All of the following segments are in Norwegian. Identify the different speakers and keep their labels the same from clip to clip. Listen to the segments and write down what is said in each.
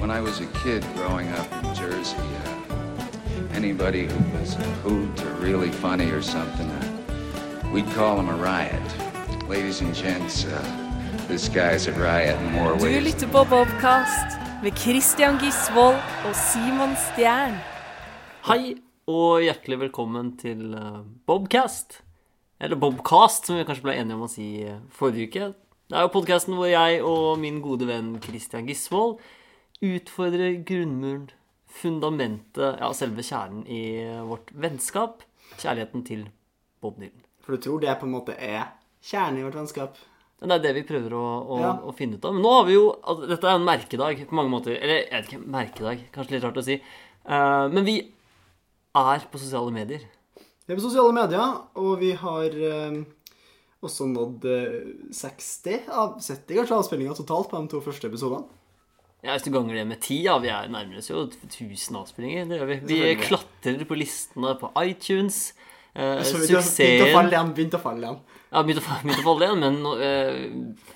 Speaker 1: When I was a kid growing up in Jersey, uh, anybody who was a hoot or really funny or something, uh, we'd call him a riot. Ladies and gents, uh, this guy's a riot in more
Speaker 2: Du
Speaker 1: ways.
Speaker 2: lytter på Bobcast med Christian Gisvold og Simon Stjern.
Speaker 3: Hei, og hjertelig velkommen til eh, Bobcast. Eller Bobcast, som vi kanskje ble enige om å si eh, forrige uke. Det er jo podkasten hvor jeg og min gode venn Christian Gisvold utfordrer grunnmuren, fundamentet, ja, selve kjernen i eh, vårt vennskap. Kjærligheten til Bob Dylan.
Speaker 4: For du tror det på en måte er kjernen i vårt vennskap.
Speaker 3: Men Det er det vi prøver å, å,
Speaker 4: Ja.
Speaker 3: å finne ut av. Men nå har vi jo altså, Dette er en merkedag på mange måter. Eller jeg vet ikke, merkedag. Kanskje litt rart å si. Eh, men vi er på sosiale medier.
Speaker 4: Vi er på sosiale medier, og vi har eh, også nådd eh, 60 av 70 kanskje avspillinger totalt på de to første episodene.
Speaker 3: Ja, Hvis du ganger det med ti, ja, vi er nærmer oss jo 1000 avspillinger. Det gjør vi. Vi
Speaker 4: Selvfølgelig.
Speaker 3: klatrer på listene på iTunes. Eh,
Speaker 4: Så begynte å- begynte å
Speaker 3: suksessen
Speaker 4: falle igjen. begynte å falle igjen.
Speaker 3: Ja, begynte å fa- begynte å falle igjen, men nå, eh,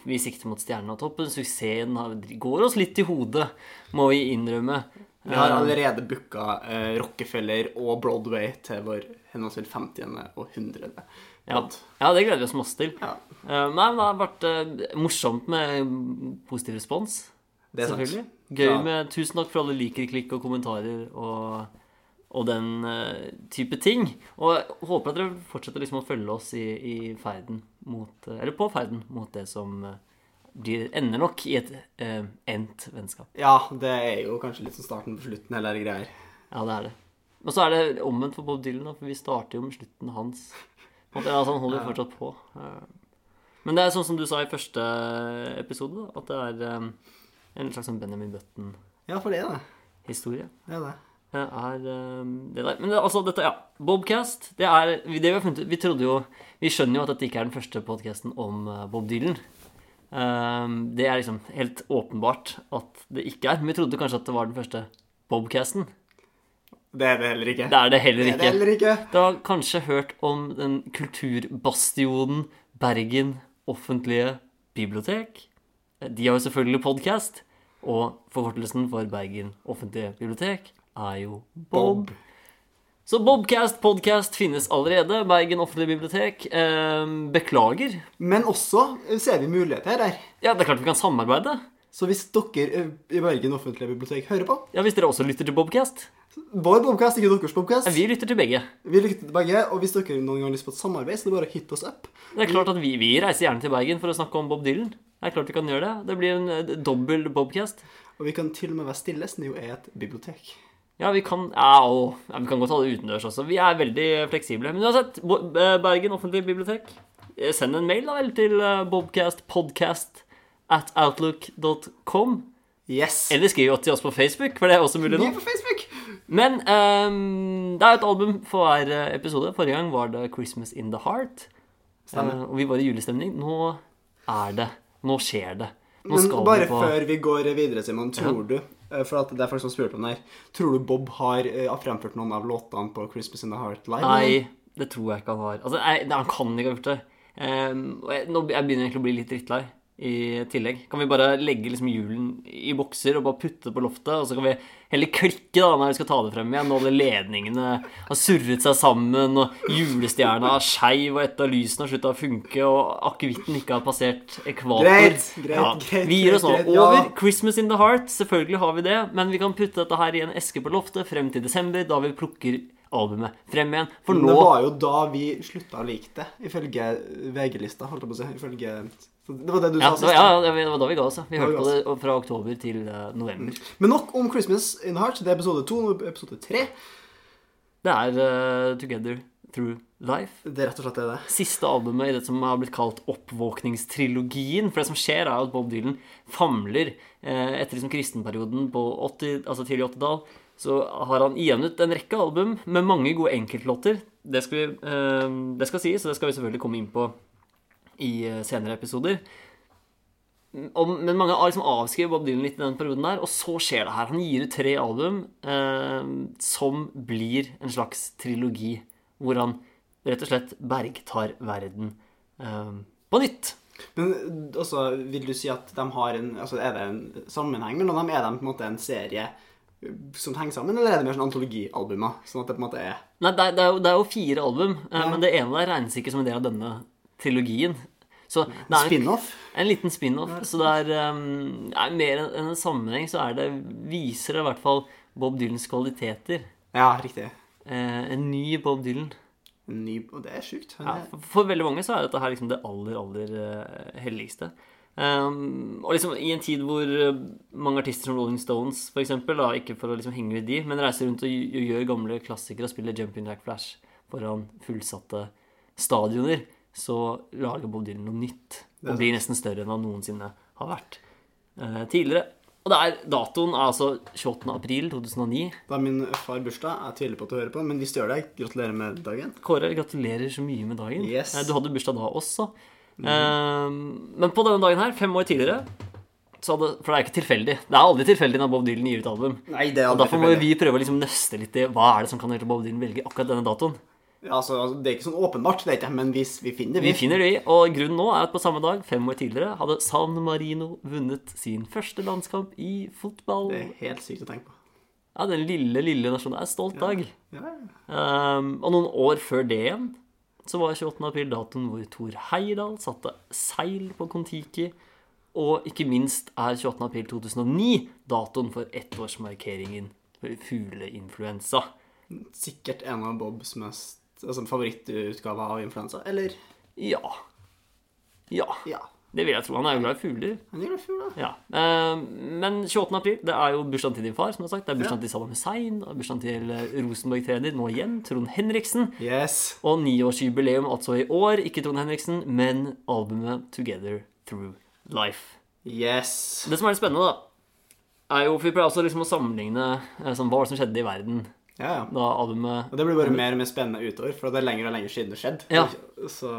Speaker 3: vi sikter mot stjernen og toppen. Suksessen har, går oss litt i hodet, må vi innrømme.
Speaker 4: Vi har
Speaker 3: Eh,
Speaker 4: allerede booka eh, Rockefeller og Broadway til vår henholdsvis 50. og 100.
Speaker 3: ja. ja, det gleder vi oss masse til.
Speaker 4: Ja.
Speaker 3: Eh, nei, men det har vært eh, morsomt med positiv respons.
Speaker 4: Det er sant.
Speaker 3: Selvfølgelig. Gøy
Speaker 4: Ja.
Speaker 3: med tusen takk for alle liker, klikk og kommentarer og, og den eh, type ting. Og jeg håper at dere fortsetter liksom å følge oss i, i ferden mot, eh, eller på ferden mot det som eh, blir, ender nok i et eh, endt vennskap.
Speaker 4: Ja, det er jo kanskje litt som starten på slutten, hele det greier.
Speaker 3: Ja, det er det. Og så er det omvendt for Bob Dylan, da, for vi starter jo med slutten hans. På en måte, Altså, han holder jo fortsatt på. Eh, Men det er sånn som du sa i første episode, da, at det er eh, en slags sånn Benjamin Button-historie.
Speaker 4: Ja, for det er det. Det er det.
Speaker 3: Det er eh, det der. Men det, altså, dette, ja. Bobcast, det er det vi har funnet ut Vi trodde jo Vi skjønner jo at dette ikke er den første podcasten om eh, Bob Dylan. Eh, det er liksom helt åpenbart at det ikke er. Men vi trodde kanskje at det var den første Bobcasten.
Speaker 4: Det er det heller ikke.
Speaker 3: Det er det heller
Speaker 4: Det er det
Speaker 3: ikke.
Speaker 4: heller ikke.
Speaker 3: Du har kanskje hørt om den kulturbastionen Bergen offentlige bibliotek. De har jo selvfølgelig podkast, og forkortelsen for Bergen offentlige bibliotek er jo Bob.
Speaker 4: Bob.
Speaker 3: Så Bobcast podcast finnes allerede. Bergen offentlige bibliotek. Eh, beklager.
Speaker 4: Men også eh, ser vi muligheter her.
Speaker 3: Ja, det er klart vi kan samarbeide.
Speaker 4: Så hvis dere ø, i Bergen offentlige bibliotek hører på
Speaker 3: Ja, Hvis dere også lytter til Bobcast.
Speaker 4: Vår bobcast, ikke deres bobcast.
Speaker 3: Ja, vi lytter til begge.
Speaker 4: Vi lytter til begge, og hvis dere noen gang har lyst på et samarbeid, så er det bare å hit oss up.
Speaker 3: Det er klart at vi, vi reiser gjerne til Bergen for å snakke om Bob Dylan. Det er klart vi kan gjøre det. Det blir en eh, dobbel Bobcast.
Speaker 4: Og vi kan til og med være stille, siden det jo er et bibliotek.
Speaker 3: Ja, vi kan, ja, og, ja, vi kan godt ha det utendørs også. Vi er veldig fleksible. Men uansett, Bo- eh, Bergen offentlig bibliotek, eh, send en mail da vel til eh, bobcastpodcast at outlook.com.
Speaker 4: Yes!
Speaker 3: Eller skriv til oss på Facebook, for det er også mulig
Speaker 4: Vi
Speaker 3: nå.
Speaker 4: er på Facebook!
Speaker 3: Men ehm, det er jo et album for hver eh, episode. Forrige gang var det 'Christmas in the Heart'.
Speaker 4: Stemmer.
Speaker 3: Eh, og vi var i julestemning. Nå er det. Nå skjer det. Nå
Speaker 4: Men
Speaker 3: skal
Speaker 4: bare
Speaker 3: vi på
Speaker 4: før vi går videre, Simon, tror du ø, For at det er folk som spurte om det her. Tror du Bob har ø, har fremført noen av låtene på Christmas in the Heart live?
Speaker 3: Nei, det tror jeg ikke han har. Altså, nei, det- Han kan ikke ha gjort det. Ehm, og jeg, nå, be- jeg begynner egentlig å bli litt drittlei i tillegg. Kan vi bare legge liksom hjulen i bokser og bare putte det på loftet? Og så kan vi heller klikke da når vi skal ta det frem igjen. Og alle ledningene har surret seg sammen, og julestjerna er skeiv, og et av lysene har slutta å funke, og akevitten ikke har passert ekvator.
Speaker 4: Greit, greit, greit,
Speaker 3: vi gir oss nå
Speaker 4: greit, greit, ja.
Speaker 3: over. Christmas in the heart, selvfølgelig har vi det, men vi kan putte dette her i en eske på loftet frem til desember, da vi plukker albumet frem igjen. For
Speaker 4: Men Det
Speaker 3: nå
Speaker 4: var jo da vi slutta å like det, ifølge VG-lista, holdt jeg på å si. Ifølge så Det var det du
Speaker 3: ja,
Speaker 4: sa
Speaker 3: det var,
Speaker 4: sist.
Speaker 3: ja, ja, det var da vi ga oss. ja. Vi
Speaker 4: Da vi
Speaker 3: hørte på
Speaker 4: ga Mm.
Speaker 3: det fra oktober til eh, november.
Speaker 4: Men nok om Christmas in the Heart. Det er episode to, nå er episode tre.
Speaker 3: Det er eh, Together Through Life.
Speaker 4: Det er rett og slett det det. er.
Speaker 3: Siste albumet i det som har blitt kalt oppvåkningstrilogien. For det som skjer, er at Bob Dylan famler eh, etter liksom kristenperioden på 80, altså tidlig 80-tall. Så har han igjennet en rekke album med mange gode enkeltlåter. Det skal, vi, eh, det skal sies, og det skal vi selvfølgelig komme inn på i eh, senere episoder. om, men mange har liksom avskrevet Bob Dylan litt i den perioden der, og så skjer det her. Han gir ut tre album eh, som blir en slags trilogi, hvor han rett og slett bergtar verden eh, på nytt.
Speaker 4: Men også, vil du si at de har en altså Er det en sammenheng mellom dem? Er de på en måte en serie eh, som henger sammen, eller er det mer sånn antologialbumer? Sånn at det på en måte er
Speaker 3: Nei, det er, det er, jo, det er jo fire album, eh, men det ene der regnes ikke som en del av denne trilogien. Så det er en-
Speaker 4: spin-off?
Speaker 3: En liten spin-off. Så det er ehm, nei, mer enn enn en sammenheng, så er det, viser det i hvert fall Bob Dylans kvaliteter.
Speaker 4: Ja, riktig.
Speaker 3: Eh, en ny Bob Dylan.
Speaker 4: En ny Og det er sjukt. Han
Speaker 3: Ja,
Speaker 4: er-
Speaker 3: for, for veldig mange så er dette her liksom det aller, aller eh, helligste. Ehm, og liksom i en tid hvor eh, mange artister som Rolling Stones for eksempel, da, ikke for å liksom henge ut de, men reiser rundt og, gj- og gjør gamle klassikere og spiller Jumping Jack Flash foran fullsatte stadioner, så lager Bob Dylan noe nytt. Og blir nesten større enn han noensinne har vært eh, tidligere. Og det er, datoen er altså 28. april 2009.
Speaker 4: Da er min far bursdag. Jeg tviler på at du hører på, men hvis du gjør det, gratulerer med dagen.
Speaker 3: Kåre, gratulerer så mye med dagen.
Speaker 4: Yes. Mhm.
Speaker 3: Eh, Du hadde bursdag da også. Eh, men på denne dagen her, fem år tidligere så hadde, For det er jo ikke tilfeldig. Det er aldri tilfeldig når Bob Dylan gir ut album.
Speaker 4: Nei, det er
Speaker 3: Og
Speaker 4: aldri
Speaker 3: Derfor må
Speaker 4: tilfeldig.
Speaker 3: vi prøve å liksom nøste litt i hva er det som kan gjøre at Bob Dylan velger akkurat denne datoen.
Speaker 4: Ja, altså, altså, det er ikke sånn åpenbart, det er ikke, men vi, vi finner det.
Speaker 3: Vi finner det i, og grunnen nå er at på samme dag, fem år tidligere, hadde San Marino vunnet sin første landskamp i fotball.
Speaker 4: Det er helt sykt å tenke på.
Speaker 3: Ja, Den lille, lille nasjonen. Det er en stolt dag.
Speaker 4: Ja, ja.
Speaker 3: Um, og noen år før det igjen så var 28. april datoen hvor Thor Heyerdahl satte seil på Kon-Tiki. Og ikke minst er 28. april 2009 datoen for ettårsmarkeringen for fugleinfluensa.
Speaker 4: sikkert en av Bobs mest altså, favorittutgaver av influensa. Eller
Speaker 3: Ja. Ja.
Speaker 4: ja.
Speaker 3: Det vil jeg tro. Han er jo glad i fugler.
Speaker 4: Han gjør det i fjor, da.
Speaker 3: Ja. Um, men 28. april det er jo bursdagen til din far, som jeg har sagt. Det er bursdagen til Saddam Hussein. det er Bursdagen til eh, Rosenborg-trener nå igjen, Trond Henriksen.
Speaker 4: Yes.
Speaker 3: Og niårsjubileum altså i år, ikke Trond Henriksen, men albumet Together Through Life.
Speaker 4: Yes.
Speaker 3: Det som er litt spennende, da, er jo for Vi pleier også liksom å sammenligne eh, sånn, hva var det som skjedde i verden
Speaker 4: Ja, ja.
Speaker 3: da albumet
Speaker 4: Og det blir bare mer og mer spennende utover, for det er lenger og lenger siden det skjedde.
Speaker 3: Ja.
Speaker 4: Så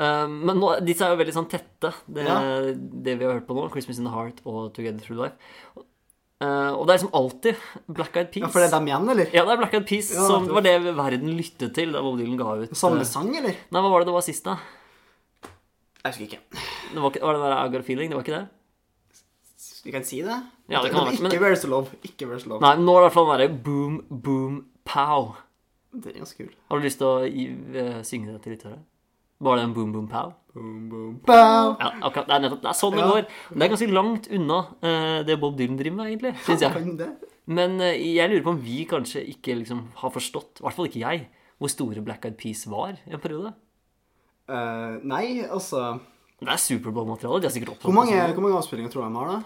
Speaker 3: Eh, Men nå, disse er jo veldig sånn tette, det,
Speaker 4: Ja.
Speaker 3: det vi har hørt på nå. 'Christmas in the Heart' og 'Together Through Life'. Eh, og det er liksom alltid Black Eyed Peas.
Speaker 4: Ja, for det er dem igjen, eller?
Speaker 3: Ja, det er Black Eyed Peas
Speaker 4: Ja,
Speaker 3: som det
Speaker 4: det-
Speaker 3: var det verden lyttet til da Bob Dylan ga ut
Speaker 4: Samme
Speaker 3: eh,
Speaker 4: sang, eller?
Speaker 3: Nei, hva var det det var sist, da?
Speaker 4: Jeg husker ikke.
Speaker 3: Det var, ikke, var det der I Got a Feeling? Det var ikke det?
Speaker 4: Vi kan si det.
Speaker 3: Ja, det kan
Speaker 4: var
Speaker 3: være, men-
Speaker 4: Ikke Where's the Love. Ikke Where's the Love.
Speaker 3: Nei, men nå er det i hvert fall den derre boom, boom, pow.
Speaker 4: Den er ganske kul.
Speaker 3: Har du lyst til å gi- eh, synge det til lyttere? Bare den boom, boom, pow?
Speaker 4: Boom, boom, bow.
Speaker 3: Ja, akkurat, det er nettopp, det er sånn det
Speaker 4: Ja.
Speaker 3: går. Det er ganske langt unna eh, det Bob Dylan driver med, egentlig, synes jeg.
Speaker 4: Kan det?
Speaker 3: Men eh, jeg lurer på om vi kanskje ikke liksom har forstått, i hvert fall ikke jeg, hvor store Black Eyed Peas var i en periode.
Speaker 4: Eh, nei, altså
Speaker 3: Det er Superbowl-materiale, de har sikkert opptatt
Speaker 4: Hvor mange, hvor mange avspillinger tror du de har, da?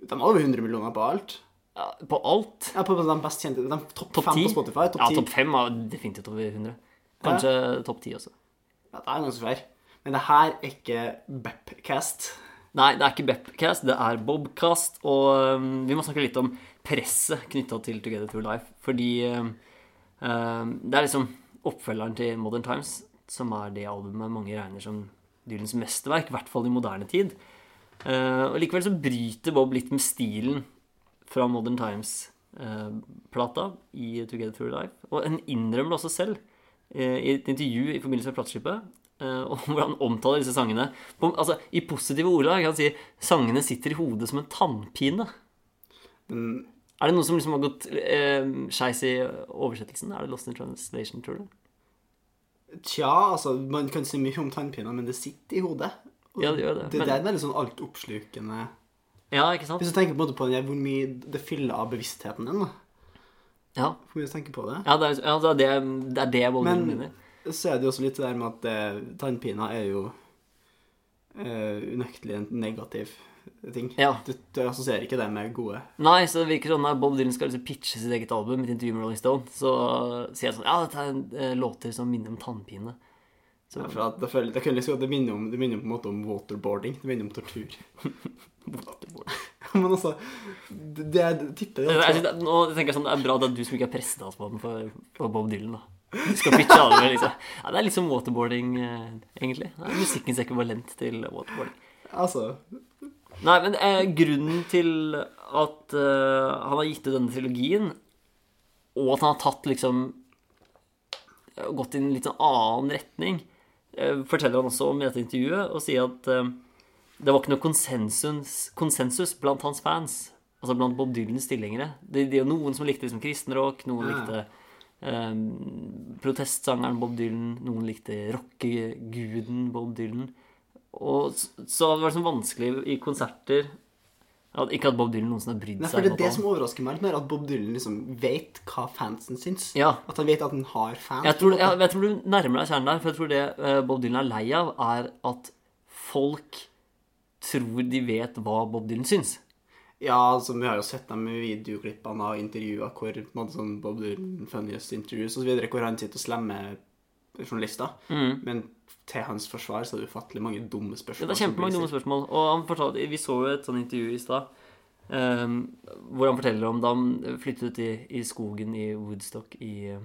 Speaker 4: De har over 100 millioner på alt.
Speaker 3: ja, på alt.
Speaker 4: Ja, på de best kjente De topp
Speaker 3: Topp
Speaker 4: fem
Speaker 3: ti?
Speaker 4: på Spotify. Topp
Speaker 3: ja,
Speaker 4: ti.
Speaker 3: topp fem er definitivt over 100. Kanskje topp ti også.
Speaker 4: Ja, det er ganske svær. Men det her er ikke Bepcast.
Speaker 3: Nei, det er ikke Bepcast, det er Bobcast. Og øhm, vi må snakke litt om presset knytta til Together Through Life. Fordi øhm, øhm, det er liksom oppfølgeren til Modern Times, som er det albumet mange regner som Dylans mesterverk, i hvert fall i moderne tid. Eh, og likevel så bryter Bob litt med stilen fra Modern Times-plata i Together Through Life. Og han innrømmer det også selv eh, i et intervju i forbindelse med plateskipet. eh, og hvor han omtaler disse sangene på, altså, i positive ordlag. Han sier sangene sitter i hodet som en tannpine. er det noe som liksom har gått uh, skeis i oversettelsen? Er det Lost in Translation, tror du?
Speaker 4: Tja, altså, man kan si mye om tannpiner, men det sitter i hodet. Og
Speaker 3: Ja, det gjør det.
Speaker 4: Det,
Speaker 3: Men-
Speaker 4: det er en veldig sånn altoppslukende
Speaker 3: Ja, ikke sant?
Speaker 4: Hvis du tenker på, en måte på den her, hvor mye det fyller av bevisstheten din, da.
Speaker 3: Ja,
Speaker 4: Hvor mye du tenker på det.
Speaker 3: ja, det, er, ja det, er det, det er det Bob Dylan
Speaker 4: Men-
Speaker 3: mener.
Speaker 4: Så er det jo også litt det der med at eh, tannpiner er jo eh, unektelig en negativ ting.
Speaker 3: Ja.
Speaker 4: Du, du assosierer ikke det med gode
Speaker 3: Nei, så det virker sånn at Bob Dylan skal liksom pitche sitt eget album i et intervju med Rolling Stone. Så sier jeg sånn Ja, dette er eh, låter som minner om tannpine.
Speaker 4: Ja, for at det, føler, det, kunne liksom, det, minner om, det minner på en måte om waterboarding. Det minner om tortur. Men altså Det, det er tipper
Speaker 3: Jeg,
Speaker 4: det.
Speaker 3: jeg, synes- nå tenker jeg sånn, Det er bra det er du som ikke har presset oss på den for, for Bob Dylan, da. Du Skal pitche albumet, liksom. Ja, det er litt som waterboarding, eh, egentlig. Det er musikkens ekvivalent til waterboarding.
Speaker 4: Altså
Speaker 3: Nei, men eh, grunnen til at eh, han har gitt ut denne trilogien, og at han har tatt liksom eh, gått i en litt sånn annen retning, eh, forteller han også om i dette intervjuet, og sier at eh, det var ikke noe konsensus, konsensus blant hans fans. Altså blant Bob Dylans tilhengere. Det, det er jo noen som likte liksom kristenrock, noen
Speaker 4: Ja.
Speaker 3: likte eh, protestsangeren Bob Dylan, noen likte rockeguden Bob Dylan. Og s- så det var liksom vanskelig i konserter at, Ikke at Bob Dylan noensinne har brydd
Speaker 4: Nei,
Speaker 3: seg.
Speaker 4: for det
Speaker 3: om
Speaker 4: er
Speaker 3: at
Speaker 4: det
Speaker 3: han-
Speaker 4: som overrasker meg litt mer, at Bob Dylan liksom vet hva fansen syns.
Speaker 3: Ja.
Speaker 4: At han vet at han har fans.
Speaker 3: Jeg tror, jeg, jeg tror du nærmer deg kjernen der, for jeg tror det eh, Bob Dylan er lei av, er at folk tror de vet hva Bob Dylan syns.
Speaker 4: Ja, altså, vi har jo sett dem i videoklippene og intervjuer hvor på en måte, sånn Bob Dylan funniest interviews og så videre, hvor han sitter og slemmer journalister. Men til hans forsvar så er det ufattelig mange dumme
Speaker 3: Ja, Mm. det
Speaker 4: spørsmål.
Speaker 3: er
Speaker 4: som blir
Speaker 3: kjempemange dumme
Speaker 4: stilt.
Speaker 3: spørsmål. Og han fortalte, Vi så jo et sånt intervju i stad ehm, hvor han forteller om da han flyttet ut i, i skogen i Woodstock i eh,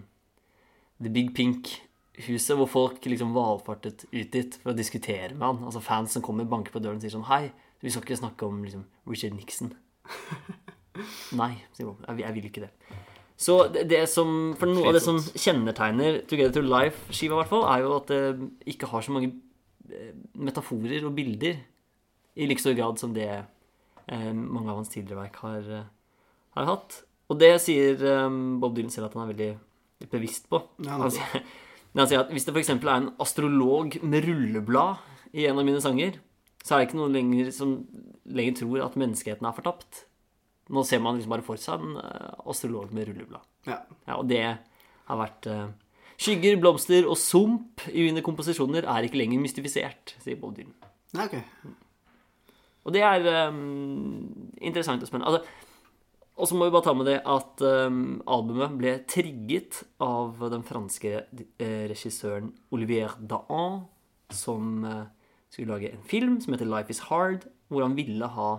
Speaker 3: The Big Pink-huset, hvor folk liksom valfartet ut dit for å diskutere med han. Altså Fans som kommer og banker på døren og sier sånn Hei, vi skal ikke snakke om liksom, Richard Nixon. Nei, sier Bob. Jeg, vil- jeg vil ikke det. Så det, det som, for noe av det som kjennetegner Together to Life-skiva, i hvert fall, er jo at det ikke har så mange eh, metaforer og bilder i like stor grad som det eh, mange av hans tidligere verk har, eh, har hatt. Og det sier eh, Bob Dylan selv at han er veldig bevisst på.
Speaker 4: Ja, han er
Speaker 3: han, sier, men han sier at hvis det f.eks. er en astrolog med rulleblad i en av mine sanger, så er det ikke noen lenger som lenger tror at menneskeheten er fortapt. Nå ser man liksom bare for seg en eh, astrolog med rulleblad.
Speaker 4: Ja.
Speaker 3: Ja, og det har vært eh, Skygger, blomster og sump i mine komposisjoner er ikke lenger mystifisert, sier Bob Dylan.
Speaker 4: Nei, ok.
Speaker 3: Og det er eh, interessant og spennende. Altså, og så må vi bare ta med det at eh, albumet ble trigget av den franske eh, regissøren Olivier Dahan, som eh, skulle lage en film som heter 'Life Is Hard', hvor han ville ha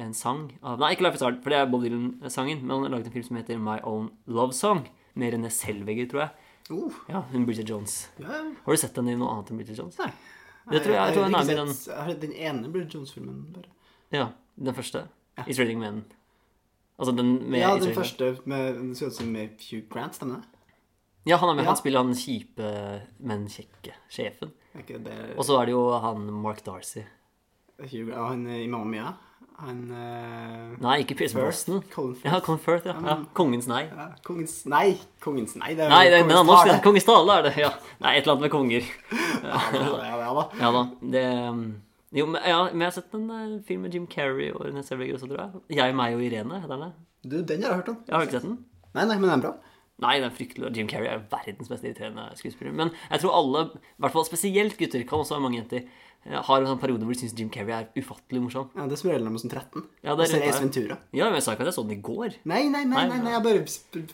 Speaker 3: en sang av Nei, ikke 'Life Is Hard', for det er Bob Dylan-sangen, men han laget en film som heter 'My Own Love Song', med René Selvegger, tror jeg.
Speaker 4: Uh,
Speaker 3: Ja, hun Bridget Jones.
Speaker 4: ja, ja.
Speaker 3: Har du sett henne i noe annet enn Bridget Jones?
Speaker 4: Nei.
Speaker 3: Det tror jeg, jeg tror
Speaker 4: har
Speaker 3: den er med i
Speaker 4: ikke
Speaker 3: den,
Speaker 4: sett- jeg har- den ene Bridget Jones-filmen. bare.
Speaker 3: ja, den første. Is Reading Men. Altså den med
Speaker 4: Ja,
Speaker 3: Is Reading
Speaker 4: den
Speaker 3: Men.
Speaker 4: første med, den ser ut som med Hugh Grant, stemmer det?
Speaker 3: Ja, han er med.
Speaker 4: Ja.
Speaker 3: Han spiller han kjipe, men kjekke sjefen.
Speaker 4: Er ikke det
Speaker 3: Og så er det jo han Mark Darcy.
Speaker 4: Hugh Grant, og han eh, i Mamma Mia? Han eh,
Speaker 3: Nei, ikke Pierce
Speaker 4: Firth?
Speaker 3: Brosnan.
Speaker 4: Colin Firth?
Speaker 3: Ja, Colin Firth, ja. ja. Kongens nei.
Speaker 4: Ja, kongens Nei! Kongens Nei, det er
Speaker 3: Nei, det,
Speaker 4: kongens
Speaker 3: men han er norsk.
Speaker 4: tale.
Speaker 3: det er Kongens tale er det. Ja. Nei, et eller annet med konger.
Speaker 4: Ja, ja, ja, da.
Speaker 3: Ja da. Det um, Jo, men, ja, men jeg har sett en eh, film med Jim Carrey og René Selvig også, tror jeg. Jeg, meg og Irene, heter den det?
Speaker 4: Du, den har jeg hørt om.
Speaker 3: Jeg har ikke sett den.
Speaker 4: Nei, nei, men den er bra.
Speaker 3: Nei, den er fryktelig. og Jim Carrey er verdens mest irriterende skuespiller. Men jeg tror alle, i hvert fall spesielt gutter, kan også være mange jenter, eh, har en sånn periode hvor de syns Jim Carrey er ufattelig morsom.
Speaker 4: Ja, Det er som regel når man er sånn 13.
Speaker 3: Ja, det er
Speaker 4: Og så
Speaker 3: rett
Speaker 4: er det Ace
Speaker 3: der.
Speaker 4: Ventura.
Speaker 3: Ja, men jeg sa ikke at jeg så den i går.
Speaker 4: Nei, nei, nei,
Speaker 3: Nei,
Speaker 4: nei,
Speaker 3: ja.
Speaker 4: nei jeg bare sp-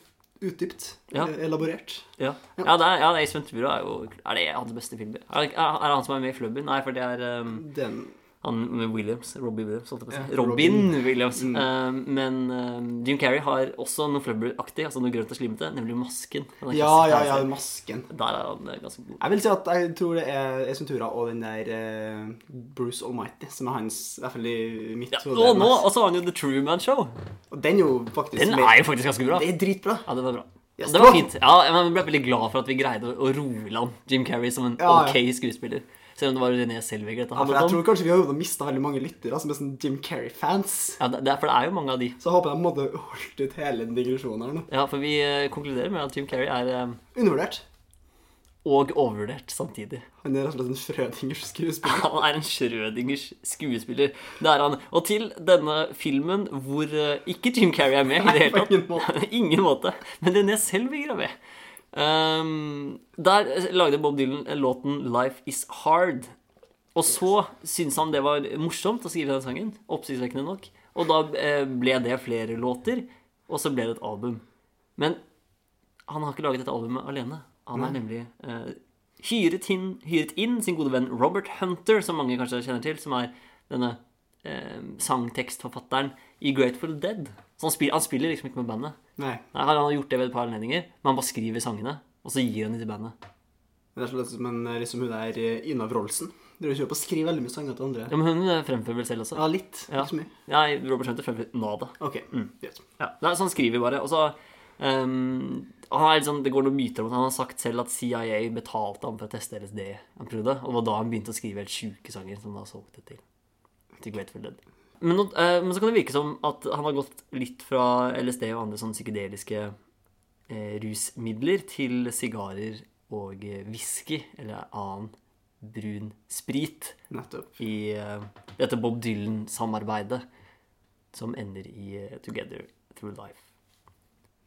Speaker 4: utdypt.
Speaker 3: Ja.
Speaker 4: eh, Elaborert.
Speaker 3: Ja, ja, det er, ja Ace Ventura er jo Er det hans beste filmer? Er det, ikke- er det han som er med i Flubben? Nei, for det er um,
Speaker 4: Den
Speaker 3: han med Williams. Robbie Williams, holdt jeg på å si.
Speaker 4: Ja, Mm.
Speaker 3: Robin,
Speaker 4: Robin.
Speaker 3: Williams. Um, men um, Jim Carrey har også noe Flubber-aktig, altså noe grønt og slimete, nemlig Masken. Den klassiske
Speaker 4: Ja, ja, ja,
Speaker 3: tegneserien.
Speaker 4: masken.
Speaker 3: Der er han eh, ganske god.
Speaker 4: Jeg vil si at jeg tror det er Ace Ventura og den der eh, Bruce Almighty som er hans I hvert fall i mitt
Speaker 3: Ja,
Speaker 4: hode.
Speaker 3: og nå og så har han jo The Truman Show.
Speaker 4: Og den er jo faktisk
Speaker 3: Den
Speaker 4: med-
Speaker 3: er jo faktisk ganske bra.
Speaker 4: Det er dritbra.
Speaker 3: Ja, det var bra.
Speaker 4: Yes,
Speaker 3: det
Speaker 4: det
Speaker 3: var
Speaker 4: var-
Speaker 3: fint. Ja, jeg ble veldig glad for at vi greide å, å roe land Jim Carrey som en
Speaker 4: Ja, ja.
Speaker 3: ok skuespiller. Selv om det var René Selvig dette
Speaker 4: Ja, for
Speaker 3: handlet
Speaker 4: jeg
Speaker 3: om.
Speaker 4: tror kanskje vi har mista veldig mange lyttere som er sånn Jim Carrey-fans.
Speaker 3: Ja, det, det er- for det er jo mange av de.
Speaker 4: Så jeg håper de måtte holdt ut hele den digresjonen her nå.
Speaker 3: Ja, for vi eh, konkluderer med at Jim Carrey er eh,
Speaker 4: Undervurdert.
Speaker 3: og overvurdert samtidig.
Speaker 4: Han er rett og slett en Frødingers skuespiller.
Speaker 3: Han er en Schrødingers skuespiller. Det er han. Og til denne filmen hvor eh, ikke Jim Carrey er med i det hele
Speaker 4: på
Speaker 3: tatt.
Speaker 4: ingen måte.
Speaker 3: ingen måte. Men René Selvinger er med. Ehm, der lagde Bob Dylan låten 'Life Is Hard'. Og så syntes han det var morsomt å skrive den sangen. Oppsiktsvekkende nok. Og da eh, ble det flere låter, og så ble det et album. Men han har ikke laget dette albumet alene. Han har nemlig eh, hyret, inn, hyret inn sin gode venn Robert Hunter, som mange kanskje kjenner til, som er denne eh, sangtekstforfatteren i Grateful Dead. Så han spiller, han spiller liksom ikke med bandet.
Speaker 4: Nei.
Speaker 3: Nei, Han har gjort det ved et par anledninger, men han bare skriver sangene, og så gir han dem til bandet.
Speaker 4: Det er slett som en, liksom hun der eh, Ina Wroldsen. Driver ikke opp og skriver veldig mye sanger til andre.
Speaker 3: Ja, men hun eh, fremfører vel selv også.
Speaker 4: Ja, litt.
Speaker 3: Ja. Mm.
Speaker 4: Ikke så mye.
Speaker 3: Nei, Robert Hunter fremfører Nada.
Speaker 4: OK. greit.
Speaker 3: Ja, Nei, så han skriver bare, og så ehm, han er litt sånn, Det går noen myter om at han har sagt selv at CIA betalte ham for å teste LSD han prøvde, og det var da han begynte å skrive helt sjuke sanger som han har solgt det til. til Grateful Dead. Men, nå- eh, men så kan det virke som at han har gått litt fra LSD og andre sånne psykedeliske eh, rusmidler til sigarer og eh, whisky eller annen brun sprit
Speaker 4: Nettopp.
Speaker 3: i eh, dette Bob Dylan-samarbeidet som ender i eh, Together Through Life.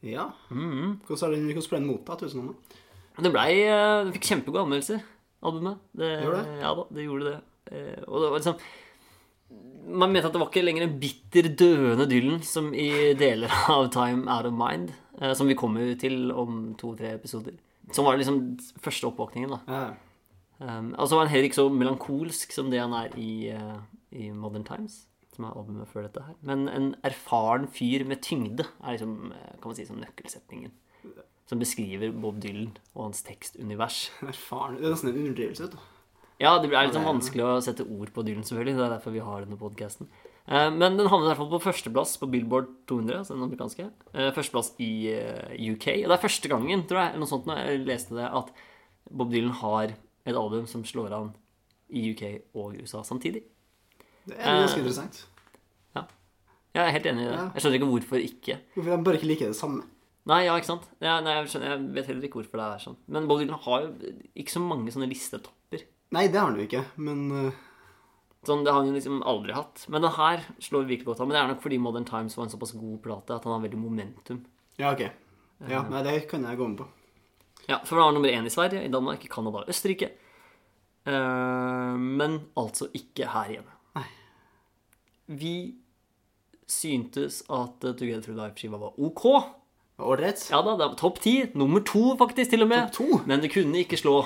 Speaker 4: Ja.
Speaker 3: Mm.
Speaker 4: Hvordan har den- hvordan ble den mottatt uten noe?
Speaker 3: Men Det blei eh, Det fikk kjempegode anmeldelser, albumet. Det,
Speaker 4: Gjorde det?
Speaker 3: Ja da, det gjorde det. Eh, Og det var liksom Man mente at det var ikke lenger en bitter, døende Dylan som i deler av Time Out of Mind, eh, som vi kommer til om to-tre episoder. Som var liksom første oppvåkningen, da.
Speaker 4: Ja.
Speaker 3: Um, altså var han heller ikke så melankolsk som det han er i, eh, i Modern Times, som er albumet før dette her. Men en erfaren fyr med tyngde er liksom, eh, kan man si, som nøkkelsetningen. Som beskriver Bob Dylan og hans tekstunivers.
Speaker 4: Erfaren. Det er nesten en underdrivelse. vet du.
Speaker 3: Ja, det er litt sånn vanskelig å sette ord på Dylan, selvfølgelig. Det er derfor vi har denne podcasten. Eh, Men den havnet i hvert fall på førsteplass på Billboard 200, altså den amerikanske. Eh, Førsteplass i eh, UK. Og det er første gangen, tror jeg, eller noe sånt når jeg leste det, at Bob Dylan har et album som slår an i UK og USA samtidig.
Speaker 4: Det er ganske
Speaker 3: Eh.
Speaker 4: interessant.
Speaker 3: Jeg er helt enig i det.
Speaker 4: Ja.
Speaker 3: Jeg skjønner ikke hvorfor ikke.
Speaker 4: Hvorfor de bare ikke liker det samme?
Speaker 3: Nei, ja, ikke sant? Ja, nei, jeg, skjønner, jeg vet heller ikke hvorfor det er sånn. Men Bob Dylan har jo ikke så mange sånne listetopper.
Speaker 4: Nei, det har han jo ikke, men eh,
Speaker 3: Sånn, Det har han jo liksom aldri hatt. Men den her slår virkelig godt an. Men det er nok fordi Modern Times var en såpass god plate at han har veldig momentum.
Speaker 4: Ja, OK.
Speaker 3: Eh.
Speaker 4: Ja, nei, det kan jeg gå med på.
Speaker 3: Ja, For han var nummer én i Sverige, i Danmark, i Canada og Østerrike. Eh, men altså ikke her hjemme.
Speaker 4: Nei.
Speaker 3: Vi syntes at eh, Together Through Life-skiva var OK.
Speaker 4: Ålreit.
Speaker 3: Ja da, det var topp ti. Nummer to, faktisk, til og med.
Speaker 4: Topp to?
Speaker 3: Men det kunne ikke slå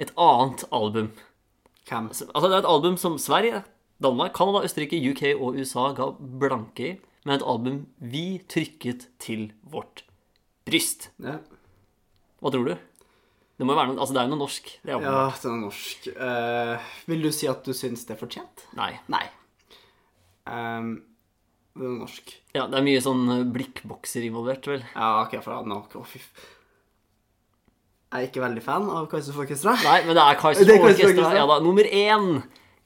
Speaker 3: et annet album.
Speaker 4: Hvem?
Speaker 3: Så- Altså, det er et album som Sverige, Danmark, Canada, Østerrike, UK og USA ga blanke i, men et album vi trykket til vårt bryst.
Speaker 4: Ja,
Speaker 3: Hva tror du? Det må jo være noe, altså det er jo noe norsk. Det er jo,
Speaker 4: ja den er norsk. Eh, vil du si at du syns det er fortjent?
Speaker 3: Nei.
Speaker 4: Nei. Um, det er norsk.
Speaker 3: Ja, det er mye sånn eh, blikkbokser involvert, vel.
Speaker 4: Ja, OK, for han har ikke Å, fy f... Jeg er ikke veldig fan av Kaiser Orkestra.
Speaker 3: Nei, men det er Kaizers
Speaker 4: Det er Kaizers
Speaker 3: Orkestra.
Speaker 4: Orkestra.
Speaker 3: Ja da, nummer én